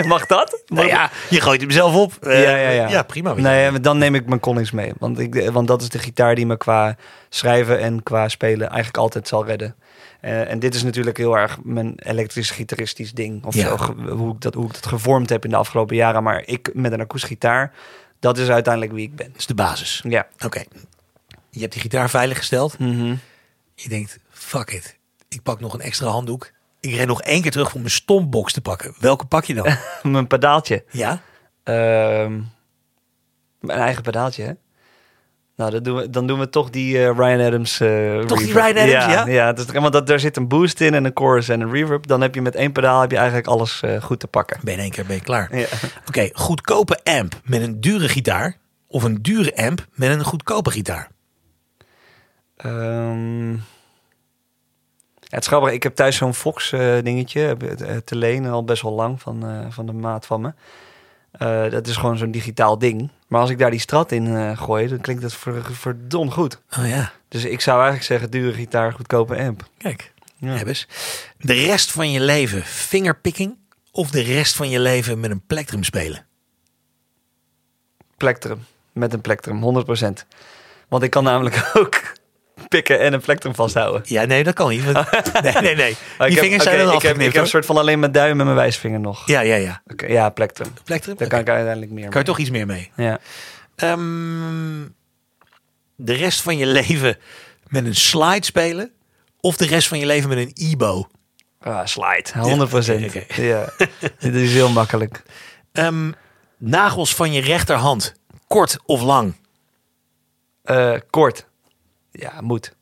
Speaker 3: Mag dat?
Speaker 1: Nou ja, je gooit hem zelf op. Eh,
Speaker 3: ja, ja, ja.
Speaker 1: prima. weet je.
Speaker 3: Nee, maar dan neem ik mijn Collins mee. Want, ik, eh, want dat is de gitaar die me qua schrijven en qua spelen eigenlijk altijd zal redden. Eh, en dit is natuurlijk heel erg mijn elektrisch gitaristisch ding. Of
Speaker 1: Ja.
Speaker 3: zo, ge- hoe, ik dat, hoe ik dat gevormd heb in de afgelopen jaren. Maar ik met een akoestische gitaar, dat is uiteindelijk wie ik ben. Dus,
Speaker 1: Dat is de basis.
Speaker 3: Ja.
Speaker 1: Oké. Je hebt die gitaar veiliggesteld.
Speaker 3: Mhm.
Speaker 1: Je denkt, fuck it. Ik pak nog een extra handdoek. Ik ren nog één keer terug om mijn stompbox te pakken. Welke pak je dan?
Speaker 3: Mijn pedaaltje.
Speaker 1: ja?
Speaker 3: Ehm, mijn eigen pedaaltje, hè? Nou, dat doen we, dan doen we toch die eh, Ryan Adams. eh,
Speaker 7: Toch die
Speaker 3: reverb.
Speaker 7: Ryan Adams, ja?
Speaker 3: ja dus, want dat, daar zit een boost in en een chorus en een reverb. Dan heb je met één pedaal heb je eigenlijk alles eh, goed te pakken.
Speaker 1: Ben je in één keer ben je klaar.
Speaker 3: Ja.
Speaker 1: Oké, goedkope amp met een dure gitaar. Of een dure amp met een goedkope gitaar.
Speaker 3: Ehm, ja, het is grappig, ik heb thuis zo'n Fox eh, dingetje heb- eh, te lenen al best wel lang van, eh, van de maat van me. Eh, dat is gewoon zo'n digitaal ding. Maar als ik daar die strat in eh, gooi, dan klinkt dat ver, verdomd goed.
Speaker 1: Oh ja,
Speaker 3: Dus ik zou eigenlijk zeggen, dure gitaar, goedkope amp.
Speaker 1: kijk.
Speaker 3: Ja.
Speaker 1: Hebbes. De rest van je leven fingerpicking. Of de rest van je leven met een plektrum spelen.
Speaker 3: Plektrum, met een plektrum, 100%. Want ik kan namelijk ook pikken en een plektrum vasthouden.
Speaker 1: Ja, nee, dat kan niet. want- Nee, nee, nee.
Speaker 3: Ah,
Speaker 1: Die
Speaker 3: ik heb-
Speaker 1: vingers zijn
Speaker 3: oké,
Speaker 1: dan
Speaker 3: ik heb, ik
Speaker 1: afgeknipt.
Speaker 3: heb een
Speaker 1: hoor.
Speaker 3: soort van alleen mijn duim en mijn wijsvinger nog.
Speaker 1: Ja, ja, ja.
Speaker 3: Oké, ja, plektrum.
Speaker 1: Plektrum?
Speaker 3: Daar
Speaker 1: Oké.
Speaker 3: kan ik uiteindelijk meer
Speaker 1: kan je toch iets meer mee.
Speaker 3: mee. Ja.
Speaker 1: Ehm, de rest van je leven met een slide spelen. Of de rest van je leven met een ebo.
Speaker 3: Ah, slide, 100 procent.
Speaker 1: oké, oké.
Speaker 3: Ja, dit is heel makkelijk.
Speaker 1: Ehm, nagels van je rechterhand. Kort of lang?
Speaker 3: Eh, kort. Ja, moet.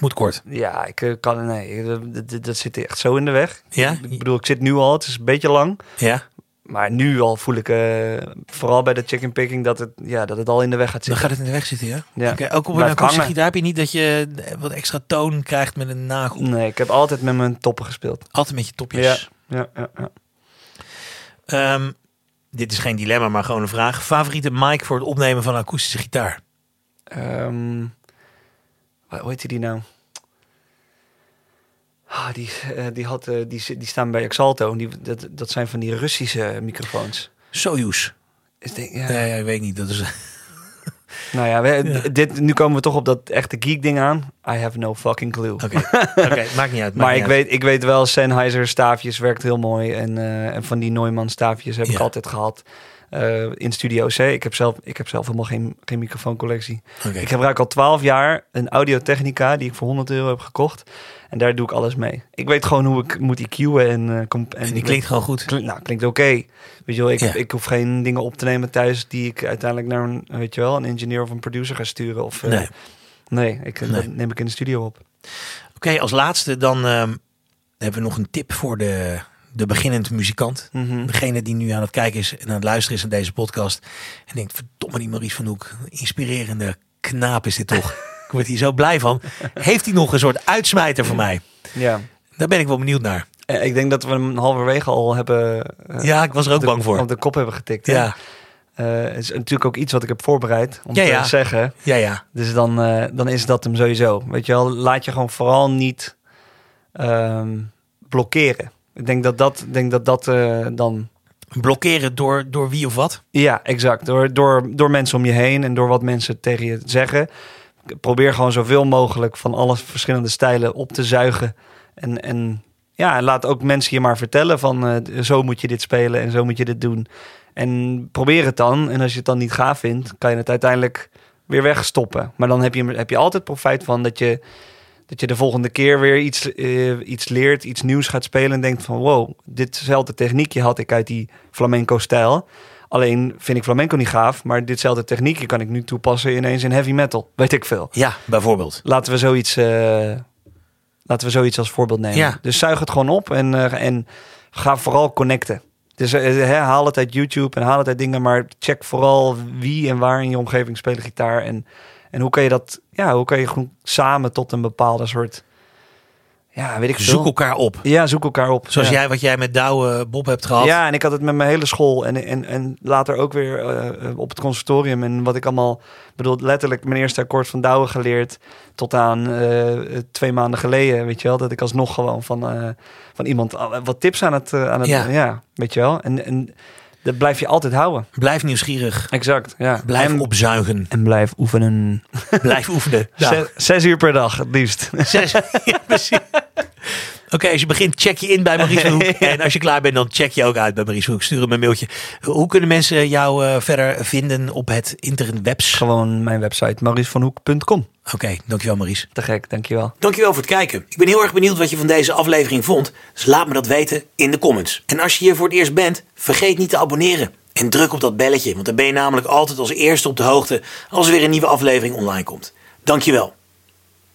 Speaker 1: Moet kort.
Speaker 3: Ja, ik eh, kan, nee, dat, dat- dat zit echt zo in de weg.
Speaker 1: Ja?
Speaker 3: Ik bedoel, ik zit nu al, het is een beetje lang.
Speaker 1: Ja?
Speaker 3: Maar nu al voel ik, eh, vooral bij de chicken picking, dat het, ja, dat het al in de weg gaat
Speaker 1: Dan
Speaker 3: zitten.
Speaker 1: gaat het in de weg zitten, ja?
Speaker 3: Ja.
Speaker 1: Oké, ook op een
Speaker 3: Blijft
Speaker 1: akoestische
Speaker 3: hangen.
Speaker 1: gitaar heb je niet dat je wat extra toon krijgt met een nagel.
Speaker 3: Nee, ik heb altijd met mijn toppen gespeeld.
Speaker 1: Altijd met je topjes.
Speaker 3: Ja, ja, ja, ja.
Speaker 1: Ehm, dit is geen dilemma, maar gewoon een vraag. Favoriete mic voor het opnemen van een akoestische gitaar?
Speaker 3: Ehm, wa- hoe heet die nou? Ah, die, eh, die, had, eh, die, zit- die staan bij Exalto. en Die, dat, dat zijn van die Russische microfoons.
Speaker 1: Soyuz.
Speaker 3: Ik denk, ja.
Speaker 1: Nee, ja, ik weet niet. Dat is...
Speaker 3: Nou ja, we- d- dit, nu komen we toch op dat echte geek ding aan. I have no fucking clue.
Speaker 1: Oké, Oké, maakt niet uit. maakt
Speaker 3: Maar
Speaker 1: niet
Speaker 3: ik
Speaker 1: uit.
Speaker 3: weet, ik weet wel, Sennheiser staafjes werkt heel mooi. En, eh, en van die Neumann staafjes heb
Speaker 1: Ja.
Speaker 3: ik altijd gehad. eh, in Studio C. Ik heb zelf, ik heb zelf helemaal geen, geen microfooncollectie.
Speaker 1: Oké.
Speaker 3: Ik gebruik al 12 jaar een Audio-Technica die ik voor 100 euro heb gekocht. En daar doe ik alles mee. Ik weet gewoon hoe ik moet EQ'en. En, eh, comp-
Speaker 1: En
Speaker 3: ik
Speaker 1: die
Speaker 3: weet-
Speaker 1: klinkt gewoon goed.
Speaker 3: Klink- nou, klinkt oké. Weet je wel, ik,
Speaker 1: Ja.
Speaker 3: ik hoef geen dingen op te nemen thuis die ik uiteindelijk naar een, weet je wel, een engineer of een producer ga sturen. Of, eh,
Speaker 1: Nee.
Speaker 3: nee, ik, eh,
Speaker 1: Nee.
Speaker 3: dat neem ik in de studio op.
Speaker 1: Oké, als laatste dan ehm, hebben we nog een tip voor de, de beginnend muzikant.
Speaker 3: Mhm.
Speaker 1: Degene die nu aan het kijken is en aan het luisteren is naar deze podcast. En denkt, verdomme die Maurice van Hoek. een Inspirerende knaap is dit toch. ik word hier zo blij van. Heeft hij nog een soort uitsmijter voor mij?
Speaker 3: Ja.
Speaker 1: Daar ben ik wel benieuwd naar.
Speaker 3: Eh, Ik denk dat we hem halverwege al hebben. eh,
Speaker 1: Ja, ik was er ook
Speaker 3: de-
Speaker 1: bang voor.
Speaker 3: Op de kop hebben getikt. hè?
Speaker 1: Ja,
Speaker 3: Eh, het is natuurlijk ook iets wat ik heb voorbereid om
Speaker 1: Ja,
Speaker 3: te
Speaker 1: ja.
Speaker 3: zeggen.
Speaker 1: ja, ja.
Speaker 3: Dus dan, eh, dan is dat hem sowieso. Weet je wel, laat je gewoon vooral niet ehm, blokkeren. Ik denk dat dat, ik denk dat, dat eh, dan
Speaker 1: Blokkeren door, door wie of wat?
Speaker 3: Ja, exact. Door, door, door mensen om je heen en door wat mensen tegen je zeggen. Probeer gewoon zoveel mogelijk van alle verschillende stijlen op te zuigen. En, en ja, en laat ook mensen je maar vertellen van eh, zo moet je dit spelen en zo moet je dit doen. En probeer het dan. En als je het dan niet gaaf vindt, kan je het uiteindelijk weer wegstoppen. Maar dan heb je, heb je altijd profijt van dat je, dat je de volgende keer weer iets, eh, iets leert, iets nieuws gaat spelen. En denkt van wow, ditzelfde techniekje had ik uit die flamenco stijl. Alleen vind ik flamenco niet gaaf, maar ditzelfde techniekje kan ik nu toepassen ineens in heavy metal. Weet ik veel.
Speaker 1: Ja, bijvoorbeeld.
Speaker 3: Laten we zoiets, eh, laten we zoiets als voorbeeld nemen.
Speaker 1: Ja.
Speaker 3: Dus zuig het gewoon op en, eh, en ga vooral connecten. Dus eh, hè, haal het uit YouTube en haal het uit dingen, maar check vooral wie en waar in je omgeving spelen gitaar. En, en hoe kan je dat, ja, hoe kan je gewoon samen tot een bepaalde soort, ja, weet ik veel.
Speaker 1: Zoek elkaar op.
Speaker 3: Ja, zoek elkaar op.
Speaker 1: Zoals
Speaker 3: ja.
Speaker 1: jij wat jij met Douwe eh, Bob hebt gehad.
Speaker 3: Ja, en ik had het met mijn hele school en, en, en later ook weer eh, eh, op het conservatorium. En wat ik allemaal, ik bedoel, letterlijk mijn eerste akkoord van Douwe geleerd. Tot aan eh, twee maanden geleden, weet je wel. Dat ik alsnog gewoon van, eh, van iemand al- wat tips aan het, eh, aan het
Speaker 1: Ja.
Speaker 3: ja. weet je wel. En, en dat blijf je altijd houden.
Speaker 1: Blijf nieuwsgierig.
Speaker 3: Exact, ja.
Speaker 1: Blijf
Speaker 3: en,
Speaker 1: opzuigen.
Speaker 3: en blijf oefenen.
Speaker 1: Blijf oefenen. Nou.
Speaker 3: Zes, zes uur per dag, het liefst.
Speaker 1: Zes. Ja, precies. Oké, als je begint, check je in bij Maurice van Hoek. En als je klaar bent, dan check je ook uit bij Maurice van Hoek. Stuur hem een mailtje. Hoe kunnen mensen jou eh, verder vinden op het internetwebs? Oké,
Speaker 3: gewoon mijn website, mauricevanhoek.com.
Speaker 1: dankjewel Maurice.
Speaker 3: Te gek, dankjewel.
Speaker 1: Dankjewel voor het kijken. Ik ben heel erg benieuwd wat je van deze aflevering vond. Dus laat me dat weten in de comments. En als je hier voor het eerst bent, vergeet niet te abonneren. En druk op dat belletje, want dan ben je namelijk altijd als eerste op de hoogte als er weer een nieuwe aflevering online komt. Dankjewel.